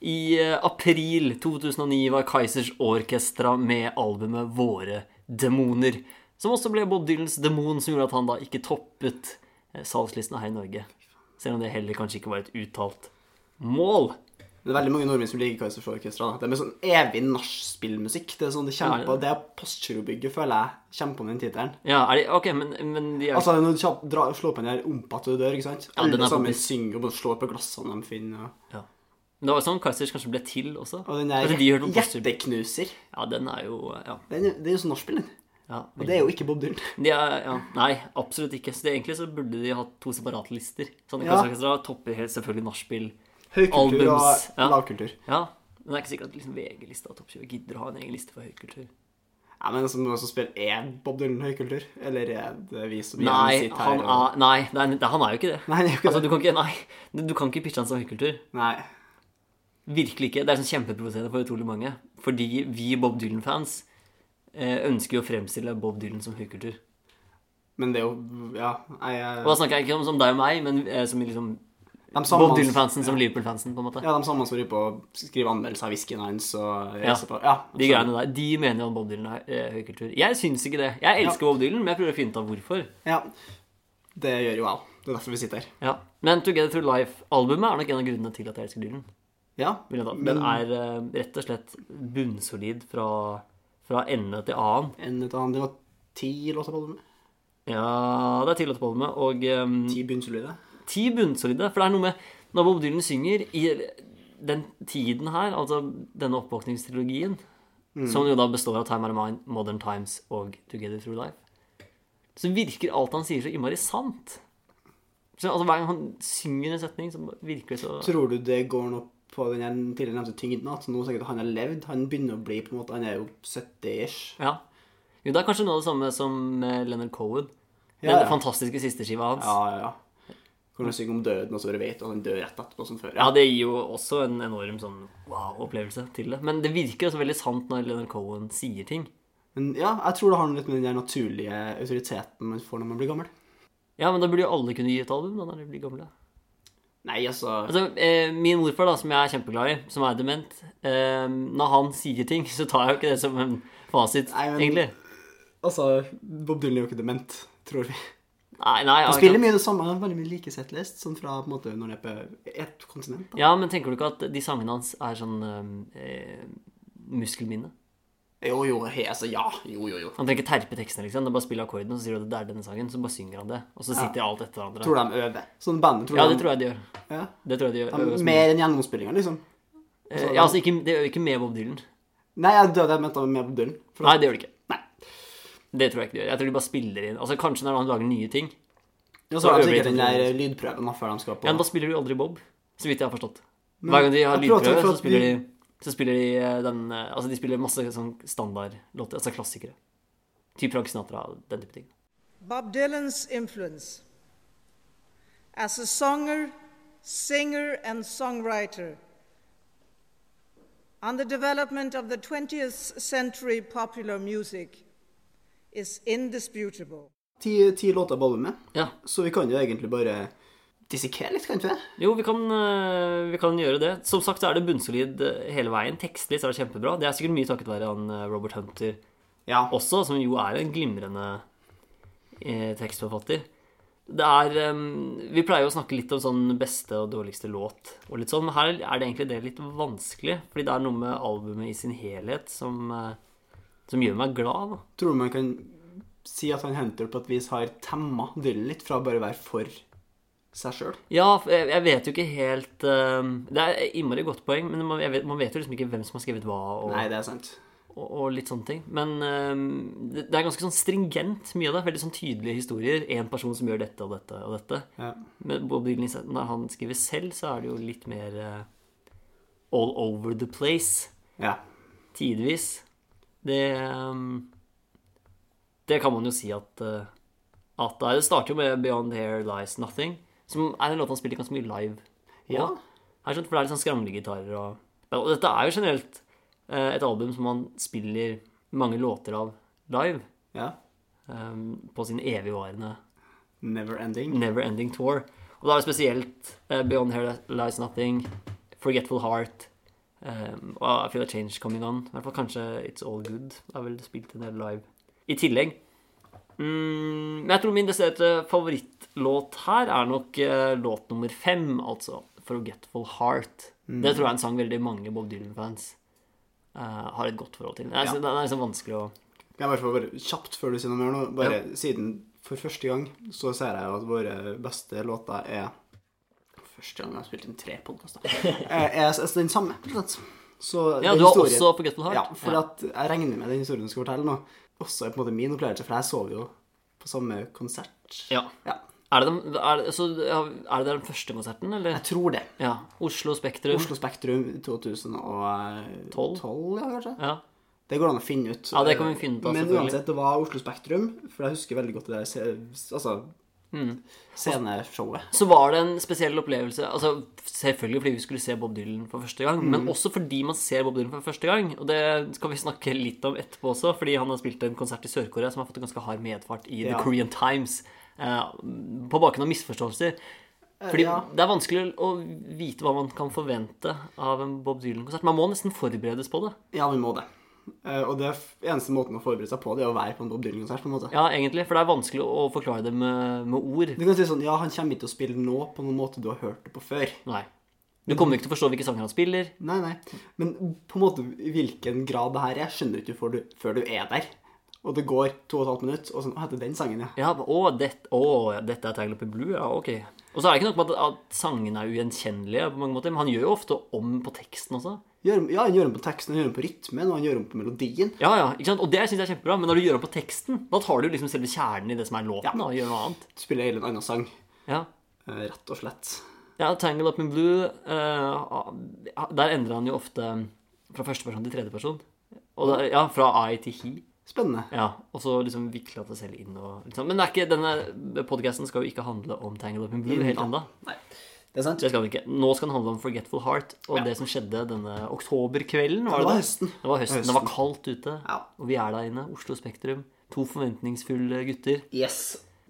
Speaker 3: i eh, april 2009 var Kaizers Orkestra med albumet Våre demoner. Som også ble Bob Dylans demon, som gjorde at han da ikke toppet eh, salgslistene her i Norge. Selv om det heller kanskje ikke var et uttalt mål.
Speaker 4: Det er veldig mange nordmenn som liker Kaizers Orkestra. da. Det er med sånn evig nachspielmusikk. Det er sånn det
Speaker 3: Ja,
Speaker 4: kjemper
Speaker 3: det-
Speaker 4: Det er Postgirobygget, føler jeg, kjemper på den tittelen.
Speaker 3: Ja, er de, ok, men, men de er,
Speaker 4: Altså, når du kjapt drar- slår på den der ompa til du dør, ikke sant?
Speaker 3: den er
Speaker 4: Alle sammen
Speaker 3: faktisk-
Speaker 4: synger og bare slår på glassene de finner. Og,
Speaker 3: ja. Men det var jo sånn Kaizers kanskje ble til også.
Speaker 4: og den
Speaker 3: Kanskje
Speaker 4: der
Speaker 3: de hørte på Postgirobygget.
Speaker 4: hjerteknuser.
Speaker 3: Ja, den er jo eh, Ja.
Speaker 4: Den, er- det er jo sånn nachspiel, den.
Speaker 3: ja
Speaker 4: Og det er jo ikke Bob Dylan.
Speaker 3: De er, ja, nei, absolutt ikke. Så det, egentlig så burde de hatt to separate lister. Sånn,
Speaker 4: Ja.
Speaker 3: Orkestra topper helt selvfølgelig nachspiel.
Speaker 4: Høykultur
Speaker 3: Albums,
Speaker 4: og
Speaker 3: ja.
Speaker 4: lavkultur.
Speaker 3: Ja, men det er ikke sikkert at liksom VG-lista og Topp 20 gidder å ha en egen liste for høykultur.
Speaker 4: Ja, men som noen som spiller er Bob Dylan høykultur? Eller er det vi som gjerne
Speaker 3: Nei,
Speaker 4: sitter her
Speaker 3: han
Speaker 4: og-
Speaker 3: er, nei det er, det, han er jo ikke det.
Speaker 4: Nei, det er jo ikke
Speaker 3: altså,
Speaker 4: det.
Speaker 3: du kan ikke, nei, du kan ikke pitche han som høykultur.
Speaker 4: Nei.
Speaker 3: Virkelig ikke. Det er sånn kjempeprovoserende for utrolig mange. Fordi vi Bob Dylan-fans eh, ønsker jo å fremstille Bob Dylan som høykultur.
Speaker 4: Men det er jo Ja, jeg
Speaker 3: Og da snakker jeg ikke om som deg og meg, men eh, som i liksom
Speaker 4: de samme-
Speaker 3: Bob Dylan-fansen som Liverpool-fansen, på en måte.
Speaker 4: Ja, de samme som driver på å skrive anmeldelser av whiskyen hans og
Speaker 3: Ja.
Speaker 4: reiser på Ja.
Speaker 3: De greiene der, de mener jo at Bob Dylan er eh, høykultur. Jeg syns ikke det. Jeg elsker Bob Dylan, men jeg prøver å finne ut av hvorfor.
Speaker 4: ja. Det gjør jo jeg òg. Det er derfor vi sitter her.
Speaker 3: Ja. Men Together Through Life-albumet er nok en av grunnene til at jeg elsker Dylan.
Speaker 4: Ja.
Speaker 3: vil jeg da. Den er eh, rett og slett bunnsolid fra, fra ende til annen.
Speaker 4: En et annet, det var ti låter på albumet.
Speaker 3: Ja, det er tillatt på albumet. Og eh,
Speaker 4: Ti bunnsolide.
Speaker 3: ti bunnsolide. For det er noe med når Bob Dylan synger i den tiden her, altså denne oppvåkningstrilogien,
Speaker 4: Mm.
Speaker 3: som jo da består av Time Out of Mind, Modern Times og Together Through Life, så virker alt han sier, så innmari sant. Så, altså, hver gang han synger en setning, så virker det så
Speaker 4: Tror du det går noe på den her tidligere nevnte tyngden? At nå sikkert han har levd? Han begynner å bli på en måte Han er jo 70-ish.
Speaker 3: Ja. Jo, det er kanskje noe av det samme som eh, Leonard Cohen. Den
Speaker 4: Ja, ja.
Speaker 3: fantastiske sisteskiva hans.
Speaker 4: Ja, ja, ja. Hvor han synger om døden, og så bare vet du at han dør rett etterpå som før.
Speaker 3: Ja, det gir jo også en enorm sånn wow-opplevelse til det. Men det virker også veldig sant når Leonard Cohen sier ting.
Speaker 4: Men ja, jeg tror det har noe litt med den der naturlige autoriteten man får når man blir gammel.
Speaker 3: Ja, men da burde jo alle kunne gi et album da, når de blir gamle.
Speaker 4: Nei, altså
Speaker 3: Altså, eh, min morfar, da, som jeg er kjempeglad i, som er dement eh, Når han sier ting, så tar jeg jo ikke det som en fasit,
Speaker 4: Nei, men-
Speaker 3: egentlig.
Speaker 4: Altså, Bob Dylan er jo ikke dement, tror vi.
Speaker 3: Nei, nei,
Speaker 4: Han
Speaker 3: jeg-
Speaker 4: spiller mye det samme, veldig mye like settlist, sånn fra på en måte når det er på ett kontinent. da.
Speaker 3: Ja, men tenker du ikke at de sangene hans er sånn eh, muskelminne?
Speaker 4: Jo, jo, he, altså, ja. Jo, jo, jo.
Speaker 3: Han trenger ikke terpe tekstene, liksom. Det er bare å spille akkorden, og så sier du at det er denne sangen, så bare synger han det. Og så sitter alt etter hverandre.
Speaker 4: Tror de øver. Sånn bandet, tror
Speaker 3: Ja,
Speaker 4: de
Speaker 3: det tror jeg de gjør.
Speaker 4: Ja.
Speaker 3: Det tror jeg de gjør.
Speaker 4: De,
Speaker 3: øver oss med.
Speaker 4: mer sånn- enn gjennomspillinga, liksom.
Speaker 3: Eh, ja, altså, ikke, det gjør ikke med Bob Dylan.
Speaker 4: Nei, jeg døde jeg mente det var med Bob Dylan. For
Speaker 3: Nei,
Speaker 4: at-
Speaker 3: det gjør de ikke.
Speaker 4: Nei.
Speaker 3: Det tror jeg ikke de gjør. Jeg tror de bare spiller inn. Altså, Kanskje når han lager nye ting.
Speaker 4: Ja,
Speaker 3: så
Speaker 4: så har de
Speaker 3: øver de
Speaker 4: sikkert den
Speaker 3: etter
Speaker 4: der lydprøven da, før de skal på
Speaker 3: Ja, men Da spiller de jo aldri Bob, så vidt jeg har forstått. Hver gang de har
Speaker 4: jeg tror at-
Speaker 3: lydprøve,
Speaker 4: for
Speaker 3: så
Speaker 4: at
Speaker 3: spiller de
Speaker 4: de-
Speaker 3: så spiller de eh, den eh, Altså, de spiller masse sånn standardlåter, altså klassikere. Typ Frank Sinatra og den type ting.
Speaker 5: Bob Dylan's influence. As a songer, singer, and songwriter, on the development of the 20th century popular music is indisputable.
Speaker 4: ti, ti låter på albumet.
Speaker 3: Ja.
Speaker 4: Så vi kan jo egentlig bare dissekere litt, kan vi ikke det?
Speaker 3: Jo, vi kan, eh, vi kan gjøre det. Som sagt så er det bunnsolid eh, hele veien. Tekstlig så er det kjempebra. Det er sikkert mye takket være han eh, Robert Hunter
Speaker 4: Ja.
Speaker 3: også, som jo er en glimrende eh, tekstforfatter. Det er eh, Vi pleier jo å snakke litt om sånn beste og dårligste låt og litt sånn, men her er det egentlig det litt vanskelig, fordi det er noe med albumet i sin helhet som, eh, som gjør meg glad. Da.
Speaker 4: Tror du man kan si at han Hunter på et vis har temma Dylan litt fra bare å være for seg sjøl?
Speaker 3: Ja, for jeg jeg vet jo ikke helt eh, Det er et innmari godt poeng, men man, jeg vet, man vet jo liksom ikke hvem som har skrevet hva. Og,
Speaker 4: Nei, det er sant.
Speaker 3: og, og litt sånne ting. Men ehm, det, det er ganske sånn stringent mye av det. Veldig sånn tydelige historier. Én person som gjør dette og dette og dette.
Speaker 4: Ja.
Speaker 3: Men Bob Dylan, liksom, når han skriver selv, så er det jo litt mer eh, all over the place.
Speaker 4: ja.
Speaker 3: Tidvis. Det ehm, Det kan man jo si at eh, at det er. Det starter jo med 'Beyond Here Lies Nothing', som er en låt han spiller ganske mye live.
Speaker 4: Ja.
Speaker 3: på. Her, skjønt, for det er litt sånn skramlegitarer og Og dette er jo generelt eh, et album som man spiller mange låter av live.
Speaker 4: ja.
Speaker 3: eh, På sin evigvarende
Speaker 4: Never ending.
Speaker 3: Never Ending Tour. Og da er det spesielt eh, Beyond Here Lies Nothing, Forgetful Heart um, og I Feel A Change Coming On. I hvert fall kanskje It's All Good. Det er vel spilt en del live i tillegeg. Mm, men jeg tror min desiderte favorittlåt her er nok eh, låt nummer fem, altså. Forgetful Heart.
Speaker 4: Mm.
Speaker 3: Det tror jeg er en sang veldig mange Bob Dylan-fans eh, har et godt forhold til. Den er,
Speaker 4: Ja.
Speaker 3: den er liksom vanskelig å
Speaker 4: Kan jeg bare få bare kjapt før du sier noe mer nå, bare siden for første gang så ser jeg jo at våre beste låter er Første gang jeg har spilt inn tre podkaster. Er, er s- den samme, rett og slett. Så
Speaker 3: Ja, du
Speaker 4: den
Speaker 3: har
Speaker 4: historien-
Speaker 3: også Forgetful Heart?
Speaker 4: Ja, for at jeg regner med den historien du skal fortelle nå, også er på en måte min opplevelse, for jeg sov jo på samme konsert.
Speaker 3: Ja.
Speaker 4: Ja,
Speaker 3: Er det, den, er, det- så, ja, er det den første konserten, eller?
Speaker 4: jeg tror det.
Speaker 3: Ja. Oslo Spektrum.
Speaker 4: Oslo Spektrum 2012,
Speaker 3: Tolv?
Speaker 4: ja, kanskje?
Speaker 3: Ja.
Speaker 4: Det går an å finne ut.
Speaker 3: Ja, det kan vi finne ut av,
Speaker 4: Men
Speaker 3: selvfølgelig.
Speaker 4: uansett, det var Oslo Spektrum, for jeg husker veldig godt det der se, altså,
Speaker 3: Mm.
Speaker 4: sceneshowet.
Speaker 3: Så var det en spesiell opplevelse. altså Selvfølgelig fordi vi skulle se Bob Dylan for første gang, men også fordi man ser Bob Dylan for første gang. Og det skal vi snakke litt om etterpå også, fordi han har spilt en konsert i Sør-Korea som har fått en ganske hard medfart i The
Speaker 4: Ja.
Speaker 3: Korean Times eh, på bakgrunn av misforståelser. Fordi
Speaker 4: ja.
Speaker 3: Det er vanskelig å vite hva man kan forvente av en Bob Dylan-konsert. Man må nesten forberedes på det.
Speaker 4: Ja, vi må det. Eh, Og det f- eneste måten å forberede seg på, det er å være på en Bob Dylan-konsert, på en måte.
Speaker 3: Ja, egentlig, For det er vanskelig å forklare det med, med ord.
Speaker 4: Du kan si sånn, ja, han kommer ikke til å spille nå på noen måte du har hørt det på før.
Speaker 3: Nei. Du kommer ikke til å forstå hvilke sanger han spiller.
Speaker 4: Nei, nei. Men på en måte i hvilken grad det her er, skjønner du ikke før du, før du er der. Og det går to og et halvt minutt, og sånn, å, heter den sangen, ja.
Speaker 3: Ja, å, dette, å, ja, dette er Tangle Up in Blue, ja, ok. Og så er det ikke nok med at, at sangene er ugjenkjennelige på mange måter, men han gjør jo ofte om på teksten også.
Speaker 4: Gjør, ja, han gjør om på teksten, han gjør om på rytmen, og han gjør om på melodien.
Speaker 3: Ja, ja, ikke sant? Og det synes jeg er kjempebra, men når du gjør om på teksten, da tar du jo liksom selve kjernen i det som er låten, da, og gjør noe annet.
Speaker 4: Du spiller hele en annen sang,
Speaker 3: Ja.
Speaker 4: eh, rett og slett.
Speaker 3: ja, Tangle Up in Blue, eh, der endrer han jo ofte fra første person til tredje person. Og da, ja, fra I til He.
Speaker 4: Spennende.
Speaker 3: Ja, og så liksom viklet det selv inn og liksom. Men det er ikke, denne podcasten skal jo ikke handle om Tangle Up in Blue, helt annet.
Speaker 4: Det er sant.
Speaker 3: Det skal den ikke. Nå skal den handle om Forgetful Heart og det som skjedde denne oktoberkvelden. Var det,
Speaker 4: Det var
Speaker 3: det?
Speaker 4: høsten.
Speaker 3: Det var høsten. Det var kaldt ute,
Speaker 4: Ja.
Speaker 3: og vi er der inne. Oslo Spektrum. To forventningsfulle gutter.
Speaker 4: Yes.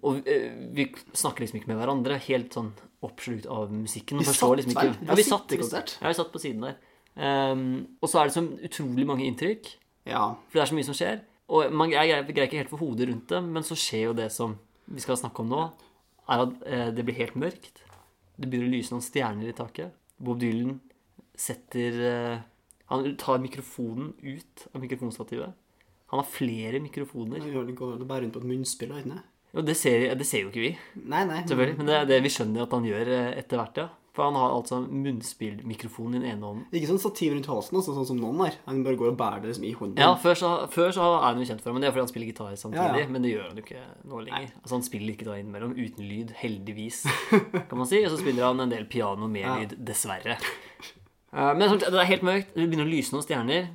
Speaker 3: Og eh, vi snakker liksom ikke med hverandre. Helt sånn oppslukt av musikken.
Speaker 4: Vi
Speaker 3: og forstår
Speaker 4: satt
Speaker 3: liksom
Speaker 4: vel?
Speaker 3: ikke.
Speaker 4: Vi
Speaker 3: Ja, vi
Speaker 4: satt
Speaker 3: satt,
Speaker 4: i konsert.
Speaker 3: ja, vi satt på siden der. Ehm, og så er det så utrolig mange inntrykk,
Speaker 4: Ja.
Speaker 3: for det er så mye som skjer. Og man, jeg greier- greier ikke helt få hodet rundt det, men så skjer jo det som vi skal snakke om nå, er at eh, det blir helt mørkt. Det begynner å lyse noen stjerner i taket. Bob Dylan setter eh, Han tar mikrofonen ut av mikrofonstativet. Han har flere mikrofoner.
Speaker 4: Vi går- går og bærer rundt på et munnspill her inne.
Speaker 3: Og det ser, det ser jo ikke vi.
Speaker 4: Nei, nei.
Speaker 3: Selvfølgelig, Men det er det vi skjønner at han gjør eh, etter hvert, ja. For han har altså munnspillmikrofon i den ene hånden.
Speaker 4: Ikke sånn stativ rundt halsen, altså, sånn som noen har. Han bare går og bærer det liksom i hånden.
Speaker 3: Ja, før så, før så er han jo kjent for det, men det er fordi han spiller gitar samtidig.
Speaker 4: Ja, ja.
Speaker 3: Men det gjør han jo ikke nå lenger. Altså Han spiller gitar innimellom uten lyd, heldigvis, kan man si. Og så spiller han en del piano med lyd, dessverre. Eh, Men som sagt, det er helt mørkt, det begynner å lyse noen stjerner,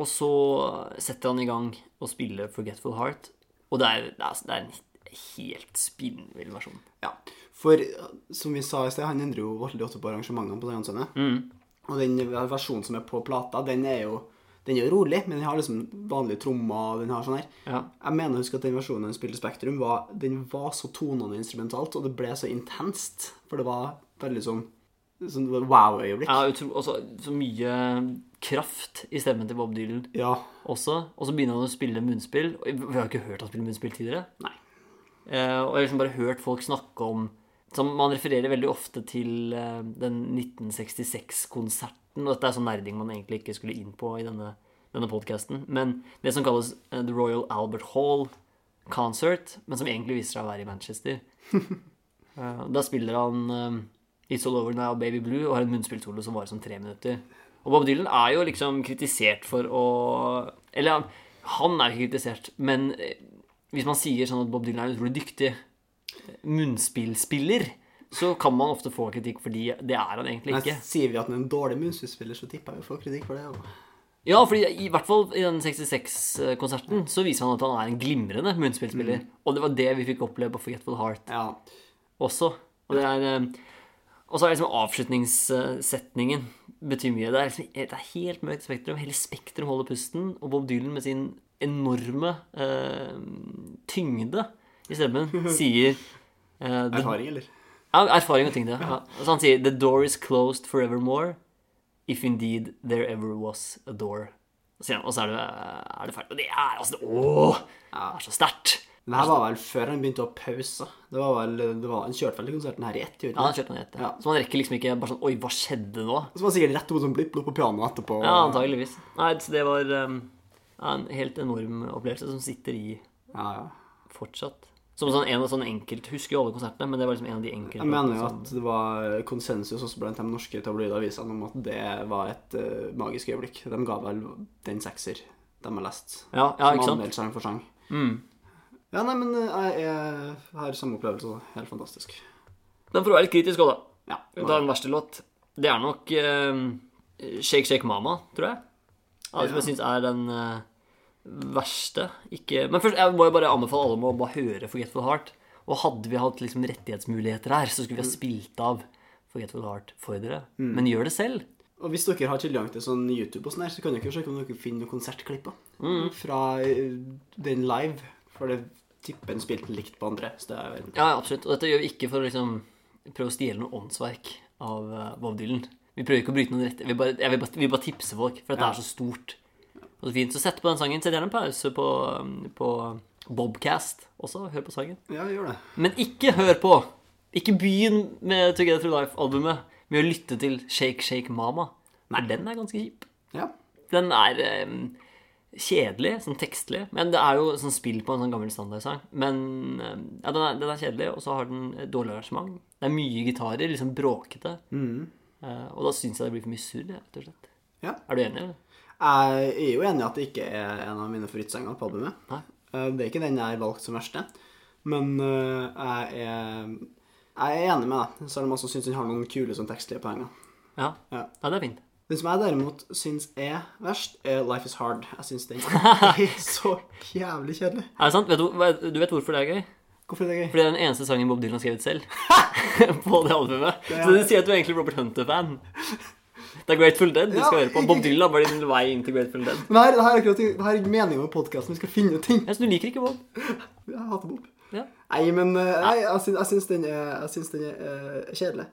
Speaker 3: og så setter han i gang å spille Forgetful Heart, og det er, det er, det er en helt spinnvill versjon.
Speaker 4: Ja, for uh, som vi sa i sted, han endrer jo veldig ofte på arrangementene på Sørlandsøyene.
Speaker 3: Mm.
Speaker 4: Og den versjonen som er på plata, den er jo den er jo rolig, men den har liksom vanlige trommer. Den har sånn her.
Speaker 3: Ja.
Speaker 4: Jeg mener å huske at den versjonen han spilte i Spektrum, var, den var så tonende instrumentalt, og det ble så intenst. For det var veldig sånn, sånn wow-øyeblikk.
Speaker 3: Ja, utro, også, så mye kraft i stemmen til Bob Dylan
Speaker 4: Ja.
Speaker 3: også. Og så begynner han å spille munnspill. Og vi har jo ikke hørt han spille munnspill tidligere.
Speaker 4: Nei.
Speaker 3: Eh, og jeg har liksom bare hørt folk snakke om som Man refererer veldig ofte til eh, den 1966-konserten. Og dette er sånn nerding man egentlig ikke skulle inn på i denne, denne podkasten. Men det som kalles eh, The Royal Albert Hall Concert, men som egentlig viser seg å være i Manchester. Eh, Da spiller han eh, It's All Over Now, Baby Blue, og har en munnspillsolo som varer som tre minutter. Og Bob Dylan er jo liksom kritisert for å Eller han, han er ikke kritisert, men eh, hvis man sier sånn at Bob Dylan er en utrolig dyktig eh, munnspillspiller, så kan man ofte få kritikk fordi det er han egentlig
Speaker 4: Men
Speaker 3: ikke.
Speaker 4: sier vi at han er en dårlig munnspillspiller, så tipper jeg vi får kritikk for det. Og...
Speaker 3: Ja, fordi i hvert fall i den 66-konserten så viser han at han er en glimrende munnspillspiller. Og det var det vi fikk oppleve på Forgetful Heart.
Speaker 4: Ja.
Speaker 3: også. Og det er eh, og så er liksom avslutningssetningen betyr mye. Det er, liksom, det er helt mørkt spektrum. Hele Spektrum holder pusten. Og Bob Dylan med sin enorme eh, tyngde i stemmen sier eh, the,
Speaker 4: Erfaring, eller?
Speaker 3: ja, erfaring og tyngde. Ja. Så han sier The door is closed forevermore if indeed there ever was a door. Og så, og så er, det, er det ferdig. Og det er altså Åh! Det er så sterkt.
Speaker 4: Men det her var vel før han begynte å pause. Det var vel, det var, han kjørte vel den konserten her i ett? gjorde
Speaker 3: Ja,
Speaker 4: han
Speaker 3: han kjørte den etter.
Speaker 4: Ja.
Speaker 3: Så man rekker liksom ikke bare sånn Oi, hva skjedde nå?
Speaker 4: Så var det sikkert rett opp som blipp-blopp på pianoet etterpå.
Speaker 3: Ja, antageligvis. Nei, så det var um, en helt enorm opplevelse som sitter i
Speaker 4: Ja, ja.
Speaker 3: fortsatt. Som sånn, en av sånne enkelt, Husker jo alle konsertene, men det var liksom en av de enkelte.
Speaker 4: Jeg mener jo
Speaker 3: som-
Speaker 4: at det var konsensus også blant de norske tabloidavisene om at det var et eh, magisk øyeblikk. De ga vel den sekser de har lest.
Speaker 3: Ja, ja, ikke sant? Mm.
Speaker 4: som anmeldte sang for sang. Ja, nei, men eh, jeg, jeg har samme opplevelse. også. Helt fantastisk.
Speaker 3: Men for å være litt kritisk òg, da.
Speaker 4: Ja.
Speaker 3: Vi tar den verste låt. Det er nok um, Shake Shake Mama, tror jeg. Ja, som jeg syns er den uh, verste. Ikke Men først, jeg må jo bare anbefale alle om å bare høre Forgetful Heart. Og hadde vi hatt liksom rettighetsmuligheter her, så skulle
Speaker 4: Mm.
Speaker 3: vi ha spilt av Forgetful Heart for dere. Men gjør det selv.
Speaker 4: Og hvis dere har tilgang til sånn YouTube og sånn her, så kan dere jo sjekke om dere finner noen konsertklipp da,
Speaker 3: Mm.
Speaker 4: fra eh, den live. For det tipper en spilte likt på andre steder i verden.
Speaker 3: Ja, ja, absolutt. Og dette gjør vi ikke for å liksom prøve å stjele noe åndsverk av eh, Bob Dylan. Vi prøver ikke å bryte noen rette. Vi bare, jeg vil bare, vi bare tipser folk, for dette
Speaker 4: Ja.
Speaker 3: er så stort og så fint. Så sett på den sangen. Sett gjerne en pause på, um, på Bobcast også. Hør på sangen.
Speaker 4: Ja, gjør det.
Speaker 3: Men ikke hør på! Ikke begynn med Together Through Life-albumet med å lytte til Shake Shake Mama. Nei, den er ganske kjip.
Speaker 4: Ja.
Speaker 3: Den er eh, kjedelig, sånn tekstlig. Men det er jo sånn spill på en sånn gammel standardsang. Men eh, ja, den er, den er kjedelig, og så har den et dårlig arrangement. Det er mye gitarer, liksom bråkete. Eh, og da syns jeg det blir for mye surr, jeg, rett og slett.
Speaker 4: Ja.
Speaker 3: Er du enig? eller?
Speaker 4: Jeg er jo enig i at det ikke er en av mine favorittsanger på albumet.
Speaker 3: Nei.
Speaker 4: Eh, Det er ikke den jeg har valgt som verste. Men eh, jeg er, jeg er enig med deg, selv om jeg også syns den har noen kule sånn tekstlige poenger.
Speaker 3: Ja.
Speaker 4: Ja.
Speaker 3: ja, det er fint.
Speaker 4: Den som jeg derimot syns er verst, er Life Is Hard. Jeg syns den er så jævlig kjedelig.
Speaker 3: Er det sant? Vet du, hva- du vet hvorfor det er gøy?
Speaker 4: Hvorfor er det gøy?
Speaker 3: Fordi det er den eneste sangen Bob Dylan har skrevet selv. på det albumet. Så du sier at du er egentlig Robert Hunter-fan. Det er Grateful Dead du
Speaker 4: Ja,
Speaker 3: skal høre på.
Speaker 4: ikke-
Speaker 3: Bob Dylan var din vei inn til Grateful Dead.
Speaker 4: Men det her, det her er akkurat det her er meningen med podkasten. Vi skal finne ut ting.
Speaker 3: Jeg synes du liker ikke Bob.
Speaker 4: Jeg hater Bob.
Speaker 3: Ja.
Speaker 4: Nei, men eh, nei, jeg, syns, jeg syns den er, jeg syns den er eh, kjedelig.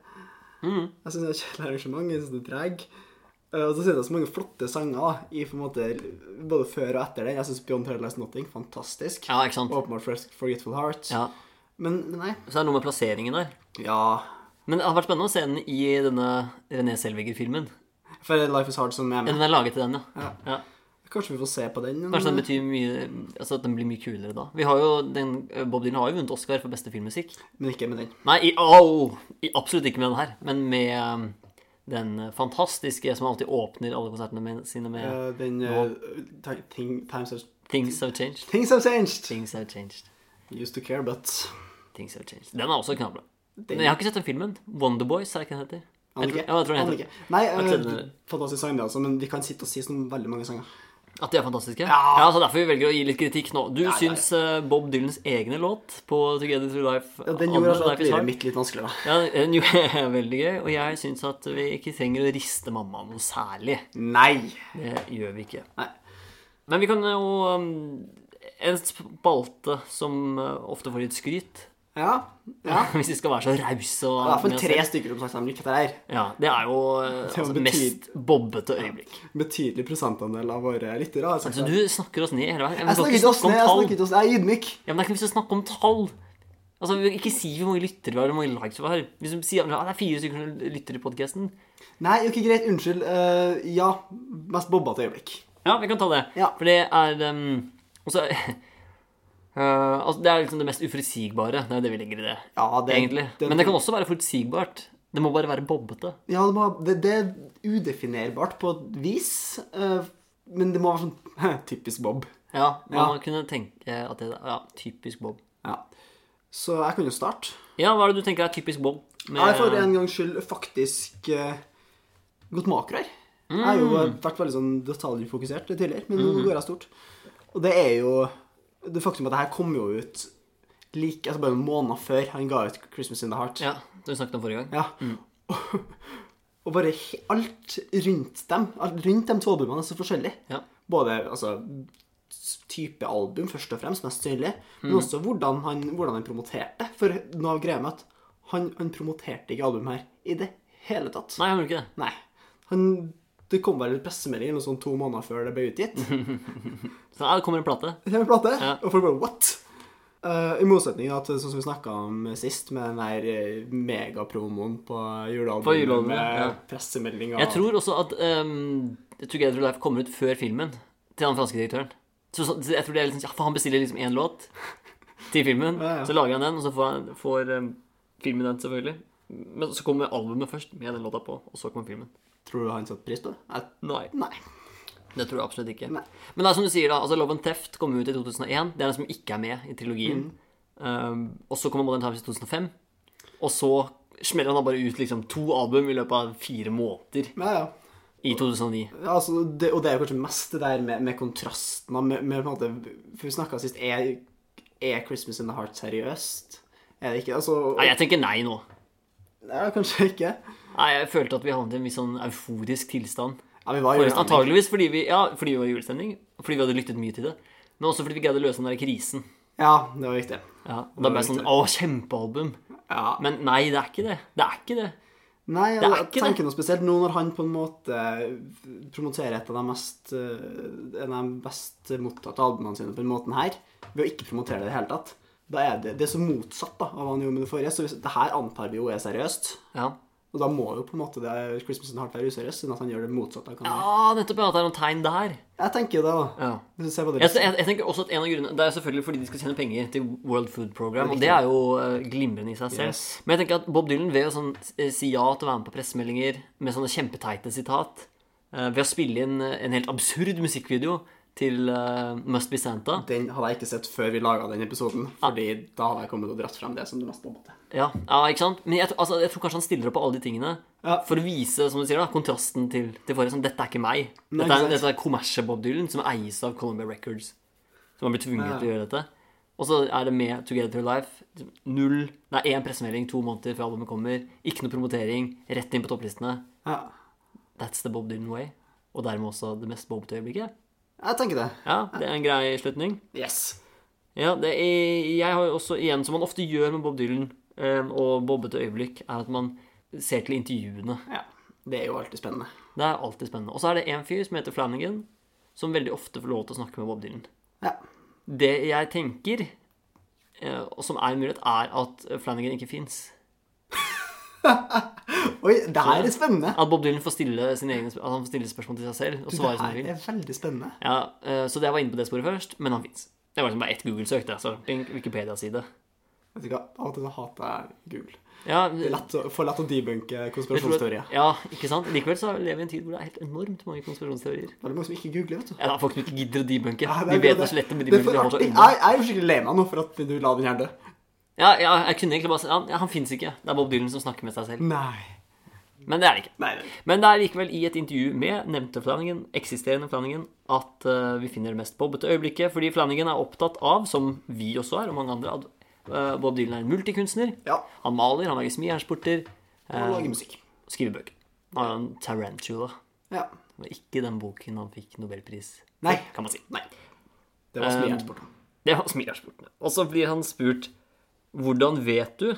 Speaker 3: Mm.
Speaker 4: Jeg syns det er et kjedelig arrangement. Jeg syns det er drag. Eh, og så syns jeg det er så mange flotte sanger da, i på en måte, både før og etter den. Jeg syns Beyond Paradise Nothing fantastisk.
Speaker 3: Ja, ikke sant?
Speaker 4: Og Åpenbart Forget- Forgetful Heart.
Speaker 3: Ja.
Speaker 4: Men nei.
Speaker 3: Så er det noe med plasseringen der.
Speaker 4: Ja.
Speaker 3: Men det har vært spennende å se den i denne René Selviger-filmen.
Speaker 4: For Life Is Hard som er med.
Speaker 3: Den er laget til den, ja. ja.
Speaker 4: Kanskje vi får se på den.
Speaker 3: Kanskje den betyr mye Altså at den blir mye kulere da. Vi har jo den, Bob Dylan har jo vunnet Oscar for beste filmmusikk.
Speaker 4: Men ikke med den.
Speaker 3: Nei, i, au! I, absolutt ikke med den her, men med um, den fantastiske som alltid åpner alle konsertene med, sine med
Speaker 4: Eh, den eh, ta- ting, times, have,
Speaker 3: Things Have Changed.
Speaker 4: things Have Changed.
Speaker 3: Things Have Changed.
Speaker 4: Used to care, but
Speaker 3: Things Have Changed. Den er også knallbra. Men jeg har ikke sett den filmen. Wonderboys, er det ikke den heter? Jeg tror,
Speaker 4: Anike.
Speaker 3: ja, jeg tror den
Speaker 4: Anike.
Speaker 3: heter.
Speaker 4: Nei,
Speaker 3: Jeg tror
Speaker 4: eh,
Speaker 3: den-
Speaker 4: fantastisk sang, det altså, men vi kan sitte og si sånn veldig mange sanger.
Speaker 3: At de er fantastiske? Ja, så Derfor vi velger å gi litt kritikk nå. Du syns eh, Bob Dylans egne låt på Together Through Life
Speaker 4: Ja, den
Speaker 3: Andre
Speaker 4: gjorde altså
Speaker 3: Life
Speaker 4: at
Speaker 3: is Hard,
Speaker 4: livet mitt litt vanskeligere.
Speaker 3: Ja, den gjorde veldig gøy. Og jeg syns at vi ikke trenger å riste mamma noe særlig.
Speaker 4: Nei!
Speaker 3: Det gjør vi ikke.
Speaker 4: Nei.
Speaker 3: Men vi kan jo um, En spalte som uh, ofte får litt skryt,
Speaker 4: Ja, ja.
Speaker 3: hvis vi skal være så rause og
Speaker 4: Det er i hvert
Speaker 3: med
Speaker 4: fall
Speaker 3: oss
Speaker 4: tre
Speaker 3: selv.
Speaker 4: stykker som sagt de liker dette her.
Speaker 3: Ja, Det er jo uh, altså,
Speaker 4: betyd-
Speaker 3: mest bobbete øyeblikk.
Speaker 4: Betydelig prosentandel av våre lyttere. har sagt
Speaker 3: Så
Speaker 4: det.
Speaker 3: Altså, du snakker oss ned hele veien. Ja, men
Speaker 4: Jeg
Speaker 3: vi kan ikke
Speaker 4: snakker ikke oss
Speaker 3: snakke om
Speaker 4: ned, jeg
Speaker 3: tall.
Speaker 4: snakker ikke oss Jeg er ydmyk.
Speaker 3: Ja, men det er ikke noe vits i å snakke om tall. Altså, vi- Ikke si hvor mange lyttere vi har, eller hvor mange likes vi har. Hvis du sier at det er fire stykker som lytter til podkasten
Speaker 4: Nei, ok, greit. Unnskyld. eh, ja. Mest bobbete øyeblikk.
Speaker 3: Ja, vi kan ta det.
Speaker 4: Ja.
Speaker 3: For det er um, også, Eh, altså, Det er liksom det mest uforutsigbare. Det er jo det vi legger i det.
Speaker 4: Ja, det-
Speaker 3: egentlig.
Speaker 4: den-
Speaker 3: Men det kan også være forutsigbart. Det må bare være bobbete.
Speaker 4: Ja, det, må, det, det er udefinerbart på et vis, eh, men det må være sånn typisk Bob.
Speaker 3: Ja, Man
Speaker 4: Ja.
Speaker 3: må kunne tenke at det er ja, typisk Bob.
Speaker 4: Ja. Så jeg kan jo starte.
Speaker 3: Ja, hva er det du tenker er typisk Bob? Med,
Speaker 4: Jeg får en gangs skyld faktisk eh, gått makro her. Jeg har jo
Speaker 3: Mm.
Speaker 4: vært veldig sånn detaljfokusert tidligere, men nå går jeg stort. Og det er jo det faktum at det her kom jo ut like, altså bare en måned før han ga ut 'Christmas in the Heart'.
Speaker 3: Ja, det vi snakket om forrige gang.
Speaker 4: Ja. Og bare he- alt rundt dem, alt rundt de to albumene er så forskjellig.
Speaker 3: Ja.
Speaker 4: Både altså, s- type album, først og fremst, mest synlig,
Speaker 3: Mm.
Speaker 4: men også hvordan han, hvordan han promoterte. For noe av greia med at han, han promoterte ikke albumet her i det hele tatt.
Speaker 3: Nei, han gjorde ikke det.
Speaker 4: Nei. Han, det kom vel en pressemelding eller noe sånt to måneder før det ble
Speaker 3: Mhm.
Speaker 4: utgitt.
Speaker 3: Så ja, det kommer en plate.
Speaker 4: Det er en plate,
Speaker 3: Ja.
Speaker 4: og folk bare What? Eh, I motsetning til at, sånn som vi snakka om sist, med den der eh, megapromoen på
Speaker 3: På
Speaker 4: julealbumet
Speaker 3: julealbumet,
Speaker 4: med
Speaker 3: ja.
Speaker 4: pressemeldinger
Speaker 3: Jeg tror også at um, Together for Life kommer ut før filmen til den franske direktøren. Så, så jeg tror det er liksom, ja, for Han bestiller liksom én låt til filmen,
Speaker 4: Ja, ja.
Speaker 3: så lager han den, og så får, han, får um, filmen den, selvfølgelig. Men så kommer albumet først, med den låta på, og så kommer filmen.
Speaker 4: Tror du han satte pris på det? Jeg-
Speaker 3: Nei.
Speaker 4: Nei.
Speaker 3: Det tror jeg absolutt ikke.
Speaker 4: Nei.
Speaker 3: Men det er som du sier, da. altså Love and Theft kom ut i 2001. Det er den som ikke er med i trilogien.
Speaker 4: Mm.
Speaker 3: Um, og så kommer Modern Times i 2005. Og så smeller han da bare ut liksom to album i løpet av fire måneder
Speaker 4: Ja, ja.
Speaker 3: i 2009.
Speaker 4: Ja, altså, det, og det er jo kanskje mest det der med, med kontrasten da, med, med på en måte, For vi snakka sist er, er 'Christmas in the Heart' seriøst? Er det ikke? Altså,
Speaker 3: Nei, jeg tenker nei nå.
Speaker 4: ja, kanskje ikke.
Speaker 3: Nei, jeg følte at vi havnet i en viss sånn euforisk tilstand.
Speaker 4: Ja, vi var i
Speaker 3: For,
Speaker 4: julestemning.
Speaker 3: antageligvis fordi vi, ja, fordi vi var i julestemning, fordi vi hadde lyttet mye til det, men også fordi vi greide å løse den der krisen.
Speaker 4: Ja, det var viktig.
Speaker 3: Ja, og da ble jeg sånn Å, kjempealbum!
Speaker 4: Ja.
Speaker 3: Men nei, det er ikke det. Det er ikke det.
Speaker 4: Nei,
Speaker 3: Det
Speaker 4: jeg
Speaker 3: er ikke
Speaker 4: tenker noe spesielt nå når han på en måte eh, promoterer et av de mest, eh, en av de best mottatte albumene sine på den måten her, ved å ikke promotere det i det hele tatt. Da er det, det er så motsatt da, av hva han gjorde med det forrige, så hvis, det her antar vi jo er seriøst.
Speaker 3: Ja.
Speaker 4: Og da må jo på en måte det Christmas in the Heart være useriøst, siden at han gjør det motsatte. av hva han gjør.
Speaker 3: Ah, nettopp. Ja, at det er noen tegn der.
Speaker 4: Jeg tenker det, da.
Speaker 3: Ja.
Speaker 4: Hvis du ser på det
Speaker 3: Jeg, jeg, jeg tenker også at en av grunnene Det er selvfølgelig fordi de skal tjene penger til World Food Program, og det er jo eh, glimrende i seg selv.
Speaker 4: Yes.
Speaker 3: Men jeg tenker at Bob Dylan ved å sånn, eh, si ja til å være med på pressemeldinger med sånne kjempeteite sitat, eh, ved å spille inn eh, en helt absurd musikkvideo til eh, Must Be Santa
Speaker 4: Den hadde jeg ikke sett før vi laga den episoden, fordi da hadde jeg kommet og dratt frem det som det mest bobbete.
Speaker 3: Ja, ja ikke sant? Men jeg, tr- altså, jeg tror kanskje han stiller opp på alle de tingene
Speaker 4: Ja.
Speaker 3: for å vise som du sier da, kontrasten til, til forrige. Sånn, dette er ikke meg.
Speaker 4: Nei,
Speaker 3: Dette
Speaker 4: ikke
Speaker 3: er,
Speaker 4: sant.
Speaker 3: dette er kommersielle Bob Dylan, som eies av Columbia Records. Som har blitt tvunget til å gjøre dette. Og så er det med Together Through Life. Null, det er én pressemelding to måneder før albumet kommer. Ikke noe promotering. Rett inn på topplistene.
Speaker 4: Ja.
Speaker 3: That's the Bob Dylan way. Og dermed også det mest bobbete øyeblikket.
Speaker 4: Jeg tenker det.
Speaker 3: Ja, det er en grei slutning.
Speaker 4: Yes.
Speaker 3: Ja, det er, jeg har jo også igjen, som man ofte gjør med Bob Dylan eh, og bobbete øyeblikk, er at man ser til intervjuene.
Speaker 4: Ja. Det er jo alltid spennende.
Speaker 3: Det er alltid spennende. Og så er det en fyr som heter Flanagan, som veldig ofte får lov til å snakke med Bob Dylan.
Speaker 4: Ja.
Speaker 3: Det jeg tenker, eh, og som er en mulighet, er at Flanagan ikke fins.
Speaker 4: Oi, det her er spennende!
Speaker 3: At Bob Dylan får stille, sin egen, at han får stille spørsmål til seg selv og
Speaker 4: Du,
Speaker 3: svare
Speaker 4: det
Speaker 3: som han
Speaker 4: her
Speaker 3: vil.
Speaker 4: er veldig spennende.
Speaker 3: Ja, eh, så jeg var inne på det sporet først, men han fins. Det var liksom bare ett Google-søk. det, altså. En Wikipedia-side.
Speaker 4: Vet du hva, Av og til så hater jeg Google.
Speaker 3: Ja,
Speaker 4: Det er lett å, for lett å debunke
Speaker 3: Mm. jeg tror at-
Speaker 4: konspirasjonsteorier.
Speaker 3: Ja, ikke sant? Likevel så lever vi i en tid hvor det er helt enormt mange konspirasjonsteorier.
Speaker 4: Veldig mange som ikke googler, vet du.
Speaker 3: Ja, det er folk som ikke gidder å debunke.
Speaker 4: Ja, det
Speaker 3: De
Speaker 4: er
Speaker 3: vet
Speaker 4: akkurat
Speaker 3: så lett om
Speaker 4: Det er
Speaker 3: debunker
Speaker 4: for
Speaker 3: de har så
Speaker 4: artig.
Speaker 3: inne.
Speaker 4: Jeg, jeg er jo skikkelig lei meg nå for at du la den her dø.
Speaker 3: Ja, ja, jeg kunne egentlig bare si ja, han fins ikke. Det er Bob Dylan som snakker med seg selv.
Speaker 4: Nei.
Speaker 3: Men det er det ikke.
Speaker 4: Nei, nei.
Speaker 3: Men det er likevel i et intervju med nevnte Flanagan, eksisterende Flanagan, at eh, vi finner det mest bobbete øyeblikket. Fordi Flanagan er opptatt av, som vi også er, og mange andre, at eh, Bob Dylan er en multikunstner.
Speaker 4: Ja.
Speaker 3: Han maler, han lager smijernsporter,
Speaker 4: Og
Speaker 3: Um,
Speaker 4: lage musikk.
Speaker 3: skriver bøker. Han er en tarantula.
Speaker 4: Ja.
Speaker 3: Det var ikke den boken han fikk nobelpris for,
Speaker 4: Nei.
Speaker 3: kan man si.
Speaker 4: Nei. Det var
Speaker 3: Um,
Speaker 4: smijernsport.
Speaker 3: Det var smilersportene. Og så blir han spurt hvordan vet du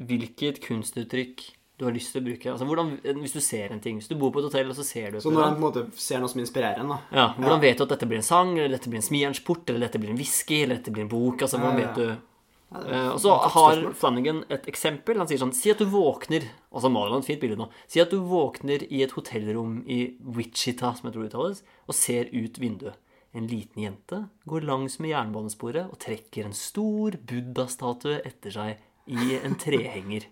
Speaker 3: hvilket kunstuttrykk du har lyst til å bruke? Altså, hvordan, Hvis du ser en ting, hvis du bor på et hotell og så ser du et
Speaker 4: Så når
Speaker 3: eller
Speaker 4: han
Speaker 3: annet,
Speaker 4: på en måte ser noe som inspirerer en, da
Speaker 3: ja, Hvordan vet du at dette blir en sang, eller dette blir en smijernsport, eller dette blir en whisky, eller dette blir en bok? altså hvordan
Speaker 4: Ja, ja.
Speaker 3: vet du?
Speaker 4: Ja, det er
Speaker 3: Eh,
Speaker 4: et
Speaker 3: og så
Speaker 4: godt
Speaker 3: har
Speaker 4: spørsmål.
Speaker 3: Flanagan et eksempel. Han sier sånn Si at du våkner altså, Og så maler han et fint bilde nå. Si at du våkner i et hotellrom i Wichita, som jeg tror det uttales, og ser ut vinduet. En liten jente går langs med jernbanesporet og trekker en stor buddha-statue etter seg i en trehenger.